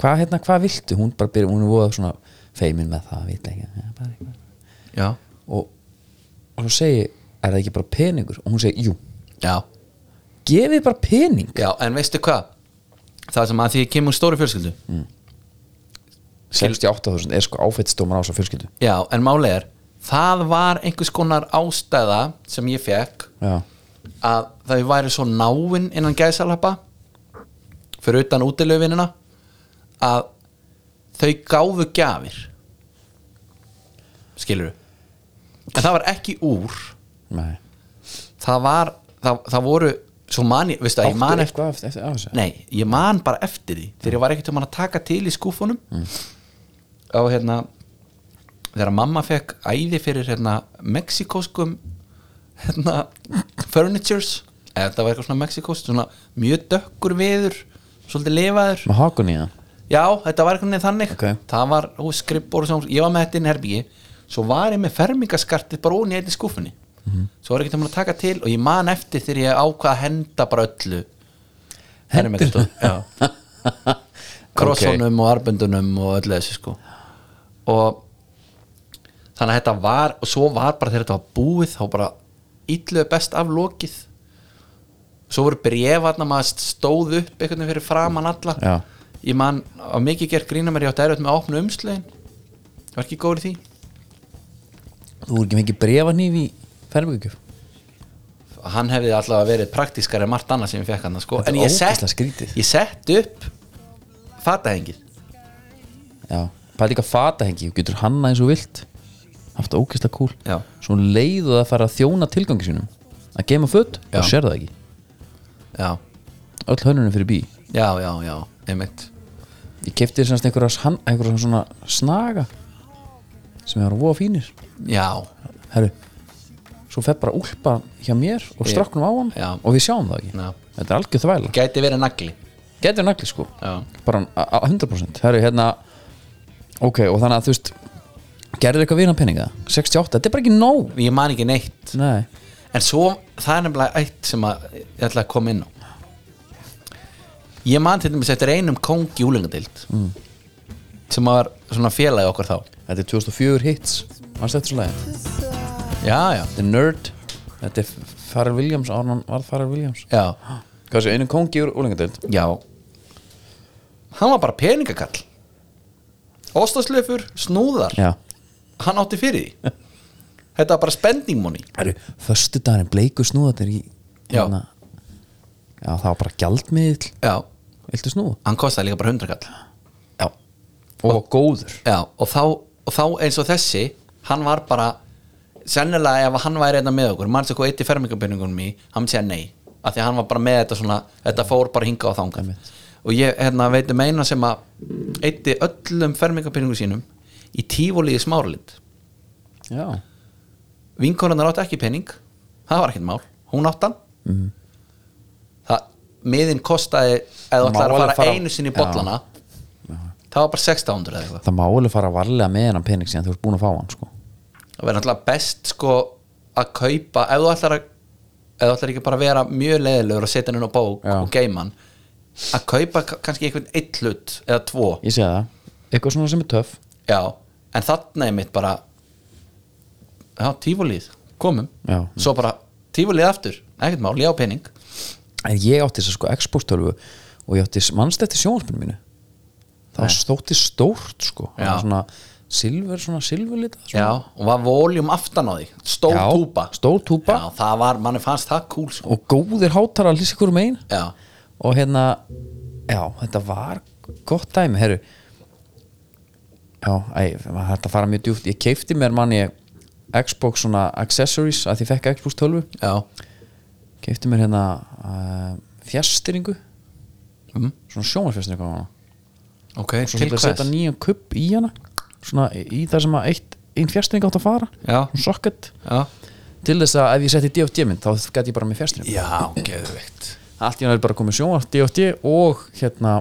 Speaker 1: hvað hérna, hvað viltu hún bara byrja, hún er voða svona feimin með það, veit ekki, ja, bara eitthvað
Speaker 2: já,
Speaker 1: og, og svo segi, ég, er það ekki bara peningur og hún segi, jú,
Speaker 2: já,
Speaker 1: gefið bara pening
Speaker 2: já en veistu hvað það sem að því ég kemur stóri fjölskyldu
Speaker 1: 68.000 er sko áfættstómar á svo fjölskyldu
Speaker 2: já, en máli er það var einhvers konar ástæða sem ég fekk
Speaker 1: já,
Speaker 2: að þau væri svo náinn innan gæðsalappa fyrir utan útilöfinina að þau gáfu gjafir skilur en það var ekki úr
Speaker 1: nei
Speaker 2: það var, það, það voru svo mani, veistu að ég man eftir
Speaker 1: Áttu eitthvað eftir, eftir, eftir,
Speaker 2: Nei, ég man bara eftir því þegar ég var ekkert um hann að taka til í skúfunum og hérna þegar mamma fekk æði fyrir hérna mexikóskum hérna furnitures eða þetta var eitthvað svona mexikóst svona mjög dökkur viður svolítið lifaður
Speaker 1: með hakun í það
Speaker 2: já, þetta var eitthvað þannig
Speaker 1: Ok.
Speaker 2: það var hú, skrippbor og svona ég var með þetta inn í herbyggi svo var ég með fermingaskartið bara ón í einni skúfunni svo var ég ekkert um hann að taka til og ég man eftir þegar ég ákvað að henda bara öllu Hendur Krossunum og arbundunum og öllu þessu sko og þannig að þetta var og svo var bara þegar þetta var búið þá bara illuðu best af lokið svo voru brefarna maður stóð upp einhvern veginn fyrir framan alla
Speaker 1: Já.
Speaker 2: ég man að mikið gerð grína mér ég átti erfitt með að opna umslögin ég var ekki góður í því
Speaker 1: Þú voru ekki mikið brefanýf í fermingugjöf
Speaker 2: hann hefði allavega verið praktískari en margt annað sem ég fekk hann sko.
Speaker 1: Þetta er
Speaker 2: en ég
Speaker 1: ógeðslega
Speaker 2: sett,
Speaker 1: skrítið.
Speaker 2: ég sett upp fatahengið
Speaker 1: Já, pæti ekki að fata hengi Þú getur hanna eins og þú vilt Haft ókista kúl
Speaker 2: Já.
Speaker 1: Svo um leið og það fara að þjóna tilgangi sínum Að geima fött,
Speaker 2: Já.
Speaker 1: þá sér það ekki
Speaker 2: já,
Speaker 1: Öll hönnunum fyrir bí
Speaker 2: já, já, já, einmitt
Speaker 1: Ég kefti semst einhverja, hann, einhverja svona snaga Sem er að voða fínir
Speaker 2: já,
Speaker 1: Herru, svo fer bara úlpa hjá mér Og
Speaker 2: Ég-
Speaker 1: straknum á hann
Speaker 2: Já.
Speaker 1: Og við sjáum það ekki
Speaker 2: Já.
Speaker 1: Þetta er algjörð þvæla
Speaker 2: gæti verið nagli
Speaker 1: Getur nagli sko
Speaker 2: já,
Speaker 1: bara a- a- 100% Herru, hérna ok, og þannig að þú veist gerðir eitthvað vinan peninga 68, þetta er bara ekki nóg
Speaker 2: ég man ekki neitt
Speaker 1: Nei.
Speaker 2: en svo, það er nefnilega eitt sem að, ég ætla að koma inn á ég man til dæmis eftir einum kóng í úlingadild mm. sem var svona félagi okkar þá
Speaker 1: þetta er 2004 hits mannstu eftir svo lagi,
Speaker 2: já, já,
Speaker 1: þetta er Nerd þetta er Farrell Williams, Arnon var Farrell Williams
Speaker 2: já,
Speaker 1: hvað sé, einu kongi úr úlingadeild
Speaker 2: já hann var bara peningakall óstaslöfur, snúðar
Speaker 1: já,
Speaker 2: hann átti fyrir því þetta var bara spending money
Speaker 1: herru, förstu dagurinn bleiku snúðatir í hérna.
Speaker 2: Já.
Speaker 1: já, það var bara gjaldmiðl
Speaker 2: já,
Speaker 1: viltu snúða?
Speaker 2: hann kostaði líka bara 100 kall
Speaker 1: já, og góður
Speaker 2: Já, og þá, og þá eins og þessi hann var bara sennilega ef hann væri einna með okkur manns eitthvað eitt í fermingabenningunum í, hann segja nei af því að hann var bara með þetta svona þetta fór bara hinga á þangan
Speaker 1: Einmitt.
Speaker 2: og ég hérna, veit um eina sem að eitti öllum fermingabenningu sínum í tífólíði smáralind
Speaker 1: já,
Speaker 2: vinkonunar átti ekki pening það var ekkert mál, hún átti hann það, miðin kostaði eða
Speaker 1: Má
Speaker 2: ætlaði að
Speaker 1: alveg
Speaker 2: fara,
Speaker 1: fara-
Speaker 2: einu sinni í
Speaker 1: Já.
Speaker 2: bollana það var bara 600 eða eitthvað
Speaker 1: það má alveg fara varlega með hennan pening síðan þú ert búin að fá hann sko.
Speaker 2: það verður náttúrulega best sko að kaupa ef þú ætlar að ef þú ætlar ekki bara að vera mjög leiðilegur að setja hann inn á bók
Speaker 1: Já.
Speaker 2: og geima hann að kaupa ka- kannski einhvern eitt hlut eða tvo
Speaker 1: ég segi það, eitthvað svona sem er töff
Speaker 2: já, en þarna er mitt bara já, tífúlið komum,
Speaker 1: Já.
Speaker 2: svo bara tífúlið aftur, ekkert mál, ég á pening
Speaker 1: en ég átti þess að sko Xbox 12 og ég átti mannst eftir sjónvarpinu mínu það var stótti stórt sko það
Speaker 2: Já.
Speaker 1: var svona silver, svona silverlita svona.
Speaker 2: já, og var voljum aftan á því stór
Speaker 1: Já,
Speaker 2: túpa
Speaker 1: stór túpa.
Speaker 2: já, það var, manni fannst það cool sko.
Speaker 1: og góðir hátar að lýsa ykkur um einn
Speaker 2: já,
Speaker 1: og hérna já, þetta var gott dæmi herru já, æ, maður þetta fara mjög djúpt ég keipti mér manni Xbox svona accessories að ég fekk Xbox 12
Speaker 2: já,
Speaker 1: keipti mér hérna uh, fjastýringu
Speaker 2: Mhm.
Speaker 1: svona sjónarfjastýringu á hana
Speaker 2: ok,
Speaker 1: og svo
Speaker 2: til
Speaker 1: ætla að setja
Speaker 2: hvers
Speaker 1: nýjan kupp í hana svona í í það sem að eitt einn fjastýring átt að fara
Speaker 2: Já.
Speaker 1: svona socket
Speaker 2: já,
Speaker 1: til þess að ef ég setti DFT mynd þá gæti ég bara með fjastýring
Speaker 2: já, geðveikt
Speaker 1: allt í hann er bara komið sjónvart DFT og hérna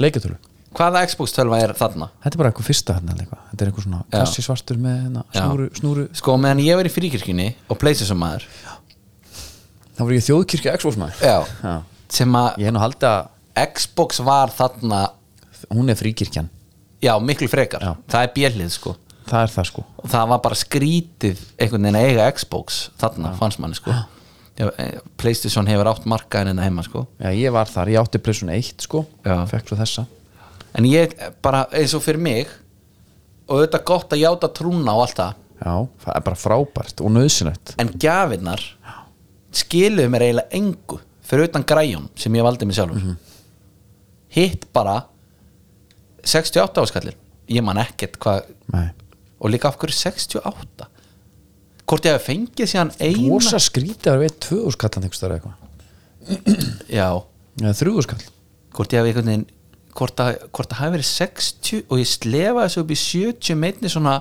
Speaker 1: leikatölu
Speaker 2: Hvaða Xbox 12 er þarna?
Speaker 1: þetta er bara eitthvað fyrsta hérna eða eitthvað þetta er eitthvað svona
Speaker 2: Já.
Speaker 1: kassi svartur með hérna,
Speaker 2: Já.
Speaker 1: snúru, snúru
Speaker 2: Sko, meðan ég var í fríkirkjunni og Playstation maður
Speaker 1: þá var ég þjóðkirkja Xbox maður
Speaker 2: Já. sem að
Speaker 1: ég hef nú haldið að
Speaker 2: Xbox var þarna
Speaker 1: hún er fríkirkjan
Speaker 2: já, miklu frekar,
Speaker 1: Já.
Speaker 2: það er bjellið sko
Speaker 1: það er það sko
Speaker 2: og það var bara skrítið einhvern veginn að eiga Xbox þarna, fannst manni sko já. eh, Playstation hefur átt markaðin en heima sko
Speaker 1: Já, ég var þar, ég átti plessun 1 sko
Speaker 2: Já.
Speaker 1: Fekk svo þessa
Speaker 2: en ég eh, bara, eins og fyrir mig og auðvitað gott að játa trúna og allt það
Speaker 1: Já, það er bara frábært og nöðsynlegt
Speaker 2: en gjafinnar skiluðu mér eiginlega engu fyrir utan græjum sem ég valdi mig sjálfur hitt bara 68 áskallir ég man ekkert hvað
Speaker 1: Nei
Speaker 2: og líka af hverju 68 hvort ég hef fengið síðan eina
Speaker 1: Vosa skrítið að við tvöðuskallan einhverstað eða eitthvað
Speaker 2: já,
Speaker 1: Eða þrjúðuskall
Speaker 2: hvort ég hef einhvern veginn hvort að, hvort að hafi verið 60 og ég slefa þessu upp í 70 meitni svona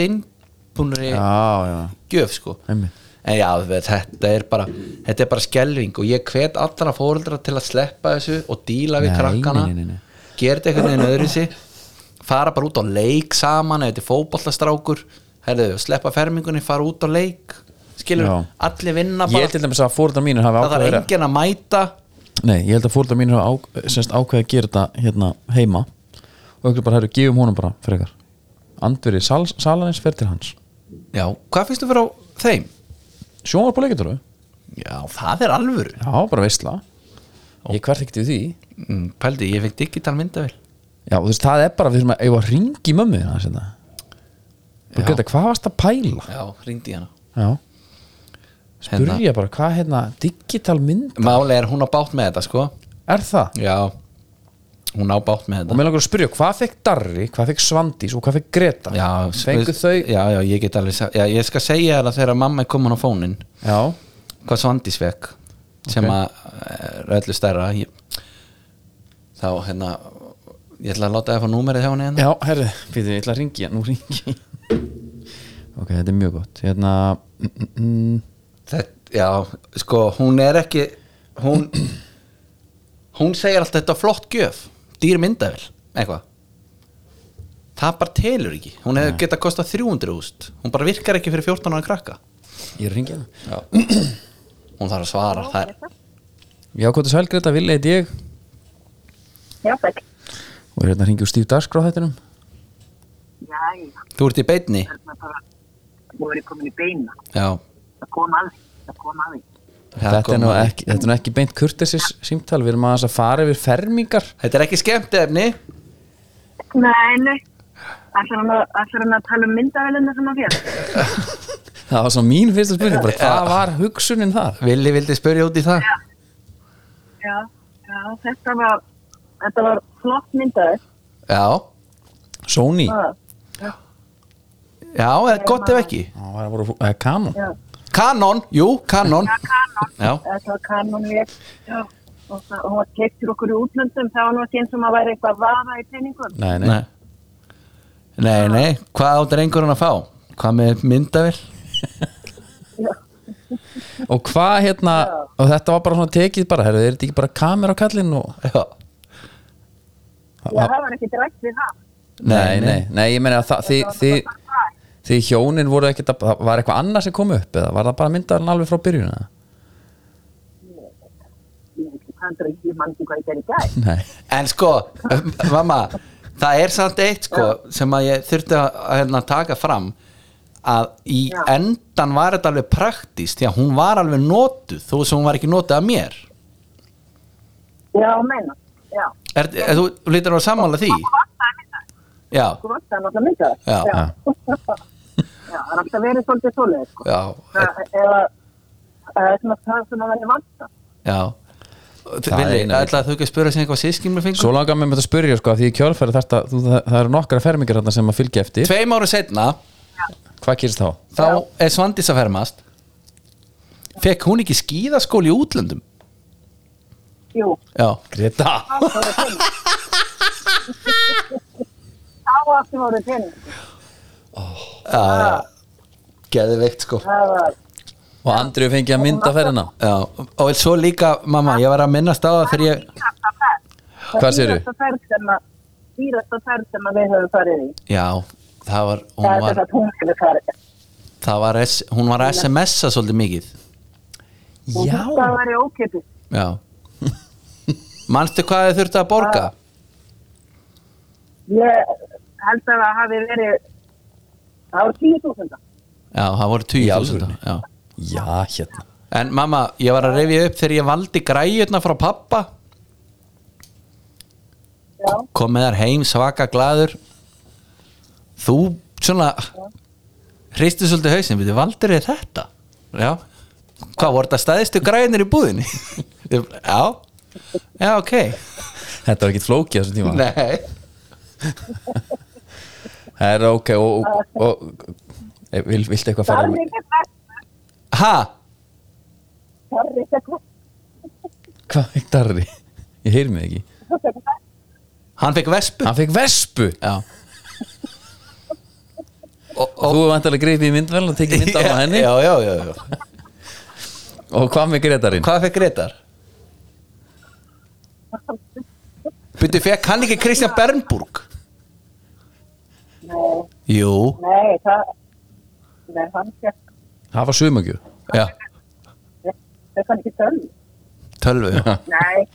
Speaker 2: seinbúnri
Speaker 1: Já, já,
Speaker 2: gjöf sko
Speaker 1: einmitt
Speaker 2: en já, þú veit, þetta er bara þetta er bara skelving og ég hvet allra fóreldra til að sleppa þessu og díla við
Speaker 1: Nei,
Speaker 2: krakkana
Speaker 1: nei, nei, nei.
Speaker 2: gera þetta einhvern veginn öðru fara bara út á leik saman eða þetta er fótballastrákur herðu, sleppa fermingunni, fara út á leik skilur,
Speaker 1: Já.
Speaker 2: allir vinna
Speaker 1: Ég
Speaker 2: bara
Speaker 1: held til dæmis að fórðar mínir hafi
Speaker 2: það þarf
Speaker 1: ákveðið að-
Speaker 2: enginn að mæta
Speaker 1: Nei, ég held að fórðar mínir hafi ák semst ákveðið að gera þetta hérna heima og ekki bara, herru, gefum honum bara frekar Andverið sal salanins fer til hans
Speaker 2: já, hvað finnst þú fyrir á þeim?
Speaker 1: Sjónar på leikitur
Speaker 2: já, það er alvöru
Speaker 1: Já, bara veistla Ég hvert ekkert við því
Speaker 2: Mm, pældi, ég fekk digital myndavel
Speaker 1: Já, þú veist, það er bara, við þurfum að eigum að ringi mömmu þína þess vegna. Bara Greta, hvað varst að pæla?
Speaker 2: já, ringdi ég hana
Speaker 1: Já,
Speaker 2: Hérna.
Speaker 1: spurja bara, hvað hérna, digital mynd
Speaker 2: máli er hún á bátt með þetta sko
Speaker 1: er það?
Speaker 2: já, hún á bátt með þetta
Speaker 1: Og mér langar að spyrja, hvað fekk Darri, hvað fekk Svandís og hvað fekk Greta?
Speaker 2: já,
Speaker 1: Fengu
Speaker 2: veist-
Speaker 1: þau?
Speaker 2: já, já, ég get alveg sagt já, ég skal segja þér að þegar mamma er komin á fónin
Speaker 1: Já,
Speaker 2: hvað Svandís fekk sem
Speaker 1: Ok.
Speaker 2: að er öllu stærra ég, þá hérna ég ætla að láta það að fá númerið hjá henni hérna.
Speaker 1: já, herri, fyrir ég ætla að ringi, nú ringi ég. Ok, þetta er mjög gott, hérna, mm, mm, mm,
Speaker 2: Þetta- já, sko, hún er ekki hún hún segir alltaf þetta er flott gjöf dýr myndavel, eitthvað það bara telur ekki hún hefur getað kostað 300 úst hún bara virkar ekki fyrir 14 ára krakka
Speaker 1: ég hérna. er að ringi það.
Speaker 2: hún þarf að svara, það er
Speaker 1: Já, hvað er sæl Greta, Vili heit ég
Speaker 3: Já, takk.
Speaker 1: og er hérna að ringi úr Stíf Dagskrá þettinum.
Speaker 3: Jæja,
Speaker 2: þú ert í beitni
Speaker 3: þarna bara, nú er ég komin í beina.
Speaker 2: já,
Speaker 3: Það kom að því, það kom að því.
Speaker 1: Þetta er,
Speaker 2: kom
Speaker 1: nú
Speaker 2: að-
Speaker 1: ekki, þetta er nú ekki beint kurtesis símtal, við erum aðeins að fara yfir fermingar.
Speaker 2: Þetta er ekki skemmt efni
Speaker 3: Nei, nei. Ætlar hann, að- ætlar hann að tala um myndavelina sem að fjall?
Speaker 1: Það var svo mín fyrsta spurning, bara hvað var hugsunin þar?
Speaker 2: Vili vildi spyrja út í það
Speaker 3: Já, já, þetta var, þetta var flott myndavel.
Speaker 2: Já,
Speaker 1: Sony?
Speaker 3: Já,
Speaker 2: já, eða gott ef ekki
Speaker 1: Já, það voru eh, Canon
Speaker 3: já,
Speaker 2: Kanon, jú, kanon
Speaker 3: kanon.
Speaker 2: Já,
Speaker 3: Þetta var kanonvél. Já, og það, og hún var keipt fyrir okkur í útlöndum. Það var nú ekki eins og maður væri eitthvað vaða í peningum.
Speaker 1: Nei, nei,
Speaker 2: nei Nei, nei, hvað á drengurinn að fá? Hvað með myndavel?
Speaker 1: og hvað hérna og þetta var bara svona tekið bara, herru, er þetta ekki bara kamera á kallinn og
Speaker 2: Já.
Speaker 3: Já, það var ekki drætt við það.
Speaker 1: nei, nei, nei, ég meni að það, þið, þið, þið hjónin voru ekkit að, það var eitthvað annað sem kom upp eða var það bara myndaðan alveg frá byrjun eða?
Speaker 3: Ég veit ekki, það er ekki, ég mann ekki hvað ég gerði í gæð.
Speaker 1: nei,
Speaker 2: En sko, mamma það er samt eitt sko sem að ég þurfti að að, hérna, taka fram að í
Speaker 3: Já.
Speaker 2: endan var þetta alveg praktíst því að hún var alveg notuð þó sem hún var ekki notuð af mér
Speaker 3: Já, meina, já.
Speaker 2: er, er, þú þú lítur á að sammála því já,
Speaker 3: Þú vant það náttúrulega myndað.
Speaker 2: Já.
Speaker 3: Já, það er alltaf verið svolítið svoleið, sko.
Speaker 2: já,
Speaker 3: Það eða, það er svona það sem að verið vanta.
Speaker 2: já
Speaker 1: Það er
Speaker 2: Vili,
Speaker 1: eina
Speaker 2: ætlaði þú ekki að spura sig eitthvað sískin með fengum?
Speaker 1: svo langar mér með þetta að spyrja sko, af því í kjálfæri þetta, þú, það, það eru nokkra fermingar þarna sem að fylgja eftir,
Speaker 2: Tveim áru setna
Speaker 1: hvað gerist þá?
Speaker 2: þá er Svandís að fermast fekk hún ekki skíðaskóli í útlöndum?
Speaker 3: Jú,
Speaker 2: Já,
Speaker 1: Greta
Speaker 3: það voru pening. Þá aftur voru pening.
Speaker 2: já, já Geðveikt sko
Speaker 3: Það var,
Speaker 1: og Andriu fengið að mynda ferðina
Speaker 2: Já, og svo líka, mamma, ég var að minnast á það þegar ég,
Speaker 3: dýrasta ferð.
Speaker 1: Hvað segirðu?
Speaker 3: Dýrasta ferð sem að, dýrasta ferð sem að við höfum farið í.
Speaker 2: já, það var, hún
Speaker 3: Það er
Speaker 2: var,
Speaker 3: þess að hún hefur farið.
Speaker 2: það var, S, hún var að SMS-a svolítið mikið,
Speaker 3: Hún
Speaker 1: já,
Speaker 3: þurfti að vera ókipið.
Speaker 2: já. Manstu hvað þið þurfti að borga?
Speaker 3: Ah. Ég held að það hafi verið, það voru tíu þúsunda.
Speaker 2: Já, það voru 20.000,
Speaker 1: alvörunni?
Speaker 2: já.
Speaker 1: já, hérna
Speaker 2: En mamma, ég var að reyfja upp þegar ég valdi græjurna frá pappa,
Speaker 3: Já,
Speaker 2: kom með þær heim svaka glaður, þú svona, hristu svolítið hausin, við þið valdir þér þetta, já. Hvað voru þetta staðistu græjurnir í búðinni? já, já, ok.
Speaker 1: þetta var ekkit flókið á þessum tíma
Speaker 2: Nei
Speaker 1: Það er ok og, og, og, og vil, viltu eitthvað
Speaker 3: það
Speaker 1: fara
Speaker 3: er ekki verð.
Speaker 2: Ha?
Speaker 3: Það er ekki verð.
Speaker 1: Hvað er darri? Ég heyr mig ekki
Speaker 2: Hann fekk vespu
Speaker 1: Hann fekk vespu
Speaker 2: Já og,
Speaker 1: og þú vantilega greipið í myndvel og tekið mynd af henni
Speaker 2: Já, já, já, já
Speaker 1: og hvað með Gretarinn?
Speaker 2: Hvað fekk Gretar? Byrju, fekk hann ekki Kristján Bernburg?
Speaker 3: Nei,
Speaker 2: Jú
Speaker 3: nei, það, nei, hann fekk,
Speaker 1: Það var sumagju
Speaker 2: Já,
Speaker 3: fekk hann ekki tölv.
Speaker 2: tölvu já.
Speaker 3: Nei,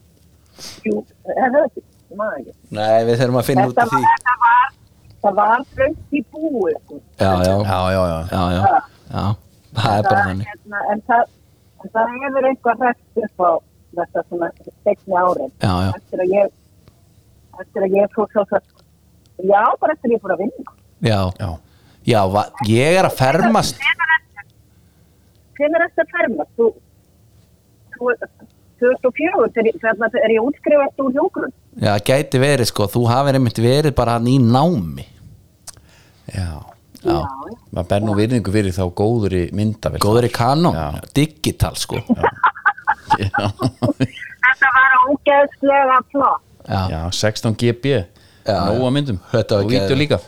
Speaker 3: jú, það er ekki, ég maður ekki.
Speaker 2: Nei, við þurfum að finna út
Speaker 3: Þetta
Speaker 2: af
Speaker 3: var,
Speaker 2: því
Speaker 3: þetta var, það var þröngt í búið, sko.
Speaker 2: Já, já, já,
Speaker 1: Já, já, já
Speaker 2: já, já. Það er bara þannig
Speaker 3: hérna, en það, en það hefur eitthvað rest upp á þetta svona stegni árið.
Speaker 2: Já, já.
Speaker 3: Eftir að ég, eftir að ég fór svo svo, já, bara eftir að ég fór að vinna.
Speaker 2: Já,
Speaker 1: Já,
Speaker 2: já va, ég er að fermast
Speaker 3: Hvenær ertu- Hvenær ertu að fermast? Þú, þú, 2004, þegar ég- þarna er ég útskrifast úr hjógrun.
Speaker 2: Já, gæti verið sko, þú hafið einmitt verið bara hann í námi
Speaker 1: já.
Speaker 2: Já.
Speaker 1: Maður ber nú virðingu fyrir þá góður í myndavel
Speaker 2: Góður í kanón,
Speaker 1: Já.
Speaker 2: digital sko
Speaker 1: Já,
Speaker 3: Þetta var ógeðslega flott.
Speaker 2: Já,
Speaker 1: já 16 GB
Speaker 2: Já,
Speaker 1: Nóa
Speaker 2: já.
Speaker 1: myndum
Speaker 2: Þetta var
Speaker 1: Og vídeo
Speaker 2: geðveikt.
Speaker 1: líka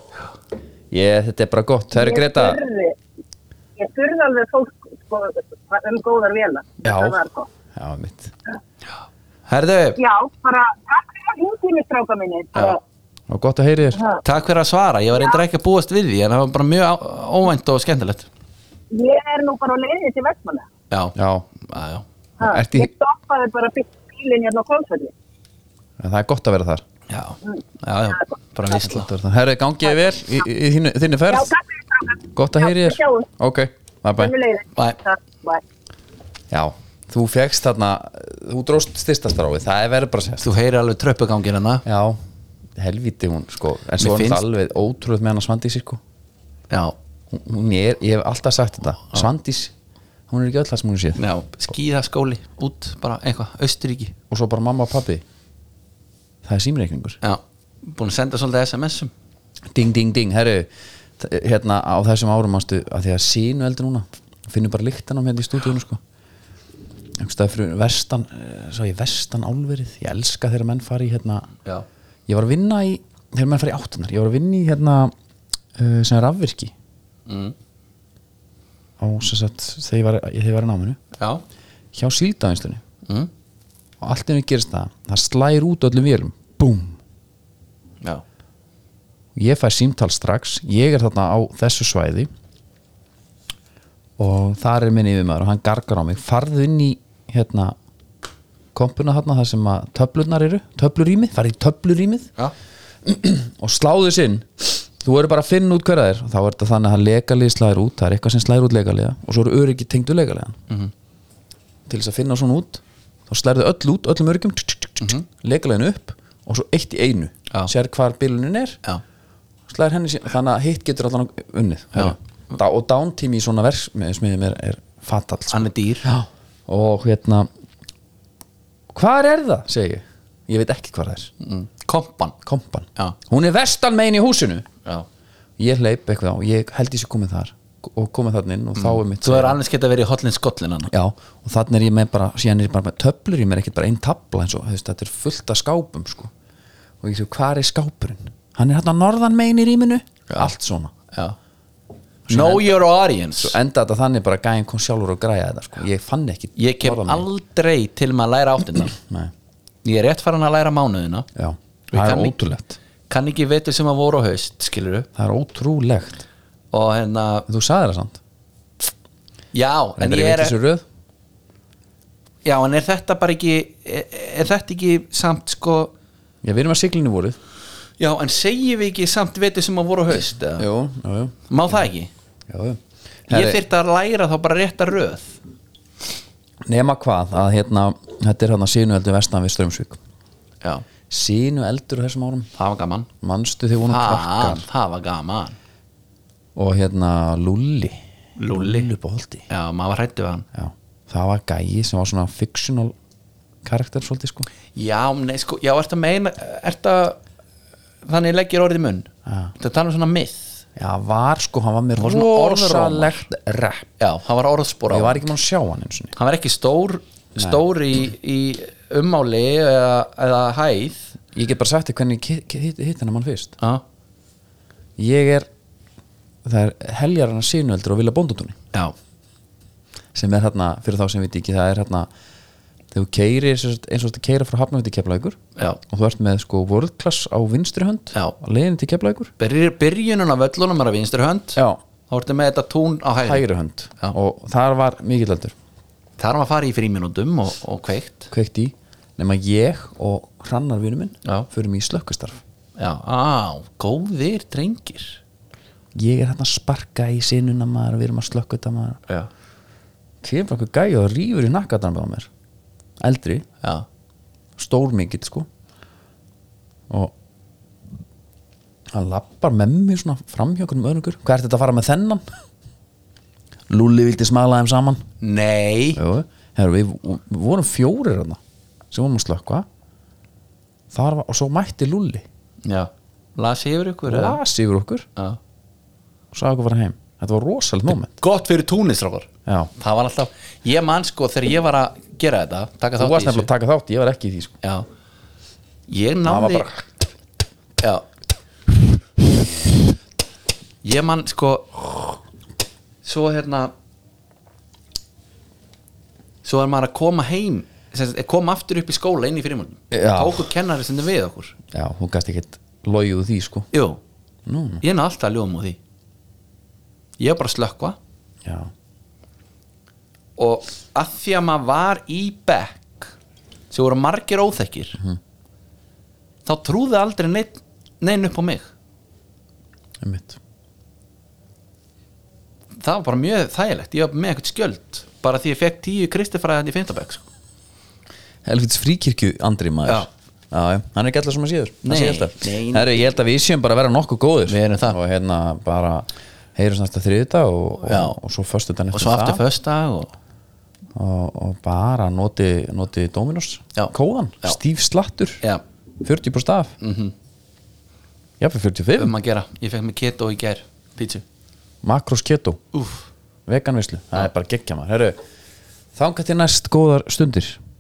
Speaker 1: Ég, þetta er bara gott Það eru
Speaker 3: Ég
Speaker 1: Greta
Speaker 3: spurði- Ég spurði alveg fólk sko, um góðar vélar.
Speaker 1: Já,
Speaker 3: Þetta var gott.
Speaker 1: já, mitt
Speaker 2: Herðu,
Speaker 3: Já, bara takk fyrir að hluti mig stráka minni. Bara,
Speaker 1: Og gott að heyri þér
Speaker 3: Ha.
Speaker 2: takk fyrir að svara Ég var reyndar ekki að búast við því En það var bara mjög á- óvænt og skemmtilegt
Speaker 3: ég er nú bara á leiðinni til Vestmanna.
Speaker 2: Já, já,
Speaker 1: Já,
Speaker 2: já,
Speaker 3: Ha,
Speaker 1: Ertu í-
Speaker 3: Ég stoppaði bara bílinn hérna á Kolsvöldi.
Speaker 1: en það er gott að vera þar
Speaker 2: já, já, já Bara vísla
Speaker 1: Herri, gangiði vel í, í, í þínu- þinni
Speaker 3: Já,
Speaker 1: ferð
Speaker 3: takk fyrir stráka.
Speaker 1: Gott að heyri
Speaker 3: Já, við
Speaker 1: þér
Speaker 3: sjáumst.
Speaker 1: Ok, bye bye
Speaker 3: Sömuleiðis.
Speaker 2: Bye.
Speaker 3: Takk, bye.
Speaker 1: Já, þú fegst þarna Þú dróst styrstastráið, það er verið bara sérst
Speaker 2: Þú heyrir alveg hérna. tröppugangir hana
Speaker 1: Já, helviti hún sko En svo
Speaker 2: Mér
Speaker 1: er
Speaker 2: finnst-
Speaker 1: það alveg ótrúð með hana Svandísi sko
Speaker 2: Já,
Speaker 1: hún, hún er, Ég hef alltaf sagt þetta Svandís, hún er ekki öll það sem hún séð
Speaker 2: já, skíðaskóli Út, bara eitthvað, Austuríki
Speaker 1: Og svo bara mamma og pappi Það er símreikningur
Speaker 2: Já, búin að senda svolítið SMS-um
Speaker 1: Ding, ding, ding, herru þ- Hérna á þessum árum ástu að Því að sínu eldur núna Finnur bara lyktan á mér í stúdíunum sko Einhverstað fyrir vestan eh, Svo ég vestan álverið Ég elska þegar menn fari í hérna
Speaker 2: Já,
Speaker 1: ég var að vinna í þegar maður farið eh, áttanar, ég var að vinna í hérna uh, sem rafvirki mm. á á, sem sagt, þegar ég var, þegar ég var í náminu
Speaker 2: Já
Speaker 1: hjá síldavinnslunni
Speaker 2: mm.
Speaker 1: og allt innan gerist það, það slægir út öllum vélum búm,
Speaker 2: Já
Speaker 1: ég fæ símtal strax ég er þarna á þessu svæði og þar er minn yfirmaður og hann gargar á mig farðu inn í hérna kompuna þarna þar sem að töflurnar eru töflurýmið, farðu í töflurýmið
Speaker 2: Já
Speaker 1: og sláðu þess inn þú eru bara að finna út hverða þér þá er þetta þannig að legalið slæðir út það er eitthvað sem slæðir út legaliða og svo eru öryggi tengd úr legaliðan
Speaker 2: Mhm.
Speaker 1: til þess að finna svona út þá slæðir þau öll út, öllum örygjum mm legaliðin upp og svo eitt í einu
Speaker 2: Mhm. Já.
Speaker 1: sér hvar bilunin er
Speaker 2: Já
Speaker 1: slæðir henni sín, þannig að hitt getur allan unnið Dá, og dántími í svona versmiðum er, er fatal sko.
Speaker 2: Hann er dýr
Speaker 1: Já, og hérna hvar er það, segi ég ég veit ekki hvar það er,
Speaker 2: mm. Kompan
Speaker 1: kompan
Speaker 2: Já.
Speaker 1: hún er vestan megin í húsinu
Speaker 2: Já
Speaker 1: ég hleyp eitthvað á, ég held ég sé komið þar og komið þarna inn og þá er mitt
Speaker 2: Svo Mm. er annars geta verið í hotlinn skollin hann
Speaker 1: já, og þarna er ég með bara, síðan er ég bara með töflur ég með ekkert bara einn tabla eins og hefst, þetta er fullt af skápum sko og ég sé, hvar er skápurinn? hann er hérna norðan megin í rýminu allt svona
Speaker 2: Já Know your audience
Speaker 1: enda þetta þannig bara að gæðin kom sjálfur og græja þetta sko. ég fann ekki
Speaker 2: Ég kem
Speaker 1: norðan
Speaker 2: aldrei til með að læra áttina
Speaker 1: megin. Nei,
Speaker 2: Ég er rétt farin að læra mánuðina
Speaker 1: já,
Speaker 2: Ég
Speaker 1: það er
Speaker 2: kann ekki-
Speaker 1: ótrúlegt
Speaker 2: Kann ekki veitur sem að voru á haust skilur
Speaker 1: það er ótrúlegt,
Speaker 2: Og hérna
Speaker 1: En þú sagði það samt
Speaker 2: Já en
Speaker 1: Reyndar
Speaker 2: ég
Speaker 1: veit
Speaker 2: er
Speaker 1: þessu röð.
Speaker 2: Já en er þetta bara ekki Er, er þetta ekki samt sko
Speaker 1: já, við erum að siglinu voruð
Speaker 2: Já en segjum við ekki samt veitur sem að voru á haust eða?
Speaker 1: jú, jú, jú,
Speaker 2: Má það ekki?
Speaker 1: jú, jú.
Speaker 2: Ég þyrfti að læra þá bara rétta röð
Speaker 1: nema hvað að hérna, þetta er hérna sínu eldur vestan við Strömsvík
Speaker 2: Já
Speaker 1: sínu eldur á þessum árum
Speaker 2: Það var gaman
Speaker 1: manstu þegar hún
Speaker 2: Það, Ah,
Speaker 1: krakkar
Speaker 2: það var gaman
Speaker 1: og hérna Lulli
Speaker 2: Lúlli.
Speaker 1: upp á holdi
Speaker 2: Já, maður var hrættu við hann
Speaker 1: já, það var gæi sem var svona fictional karakter svolítið sko
Speaker 2: Já, nei, sko, já, ertu að meina ertu að, þannig leggir orðið í munn Þetta tala um svona myth
Speaker 1: já, var sko, hann var með
Speaker 2: var svona
Speaker 1: rosalegt rap
Speaker 2: Já, hann var orðspor á
Speaker 1: ég var ekki mann að sjá hann eins og
Speaker 2: Hann var ekki stór, stór í, í ummáli eða, eða hæð
Speaker 1: ég get bara sagt þér hvernig ég ki- ki- hitt hit hennar mann fyrst
Speaker 2: Já,
Speaker 1: ég er það er heljar hann sínu eldur og vilja bóndatúni
Speaker 2: já,
Speaker 1: sem er hérna, fyrir þá sem við ekki það er hérna, þegar þú keirir sem sagt, eins og þetta keira frá hafnafjöndi keflaugur
Speaker 2: já.
Speaker 1: og þú ert með sko world class á vinstri hönd
Speaker 2: Já.
Speaker 1: á leiðin til keflaugur
Speaker 2: Byrjir, Byrjunum af völlunum er að vinstri hönd
Speaker 1: Já.
Speaker 2: Þá ertu með þetta tún á hæð
Speaker 1: hægri hönd
Speaker 2: Já.
Speaker 1: og þar var mikill aldur
Speaker 2: Það er hann að fara í fríminútum og, og kveikt
Speaker 1: kveikt í nema ég og hrannar vinnu minn
Speaker 2: Já.
Speaker 1: förum í slökkustarf
Speaker 2: Já, á, góðir drengir
Speaker 1: ég er hérna að sparka í sinuna maður við erum að slökka þetta maður
Speaker 2: Já,
Speaker 1: kemur okkur gæja og rýfur í nakkadarmi á mér eldri,
Speaker 2: já,
Speaker 1: stór mikill sko og hann lappar með mér svona framhjá okkur um öðrugur hvað ert þetta að fara með þennan? Lúli vildi smala þeim saman
Speaker 2: Nei
Speaker 1: Jú, herru, við, við vorum fjórir hann sem vorum að slökka Þar var, og svo mætti Lúlli
Speaker 2: Já, las yfir ykkur eða?
Speaker 1: las yfir okkur
Speaker 2: Já.
Speaker 1: og sagði okkur að fara heim þetta var rosalegt moment
Speaker 2: Gott fyrir túnistrákar
Speaker 1: Já.
Speaker 2: Það var alltaf, ég man sko þegar ég var að gera þetta taka
Speaker 1: þú
Speaker 2: þátt
Speaker 1: varst
Speaker 2: í
Speaker 1: nefnilega að taka þátt, ég var ekki í því sko.
Speaker 2: Já Ég
Speaker 1: það var
Speaker 2: náði
Speaker 1: bara,
Speaker 2: Já Ég man sko Svo hérna Svo er maður að koma heim sem sagt, koma aftur upp í skóla inn í fyrirmöndum
Speaker 1: Já.
Speaker 2: Tóku kennari sem þau við okkur
Speaker 1: já, þú gæst ekkert logið úr því sko
Speaker 2: Jú, ég náði alltaf að ljóma úr því Ég var bara að slökkva
Speaker 1: já,
Speaker 2: og að því að maður var í bekk sem voru margir óþekkir þá trúði aldrei neinn nein upp á mig
Speaker 1: einmitt
Speaker 2: það var bara mjög þægilegt, ég var með eitthvað skjöld bara því ég fekk tíu kristifræðan í fimmtabæk sko.
Speaker 1: helvits fríkirkju andri maður
Speaker 2: Já.
Speaker 1: Já, já, hann er ekki alltaf sem að síður
Speaker 2: Nei, nei, nei.
Speaker 1: Heru, ég held að við séum bara að vera nokkuð góðir
Speaker 2: Við erum það.
Speaker 1: og hérna bara heyrum næsta þriðudag og,
Speaker 2: Já.
Speaker 1: og, og svo föstu
Speaker 2: og svo aftur föstdag og
Speaker 1: og, og bara noti, noti Dominos
Speaker 2: Já.
Speaker 1: kóðan,
Speaker 2: Já.
Speaker 1: stíf slattur
Speaker 2: Já. Mhm.
Speaker 1: 40% af mm -hmm. jafnir 45
Speaker 2: um að gera, ég fekk mig keto í gær pítsu,
Speaker 1: makros keto,
Speaker 2: úf
Speaker 1: veganvislu það er bara geggja maður Heru, þangað til næst góðar stundir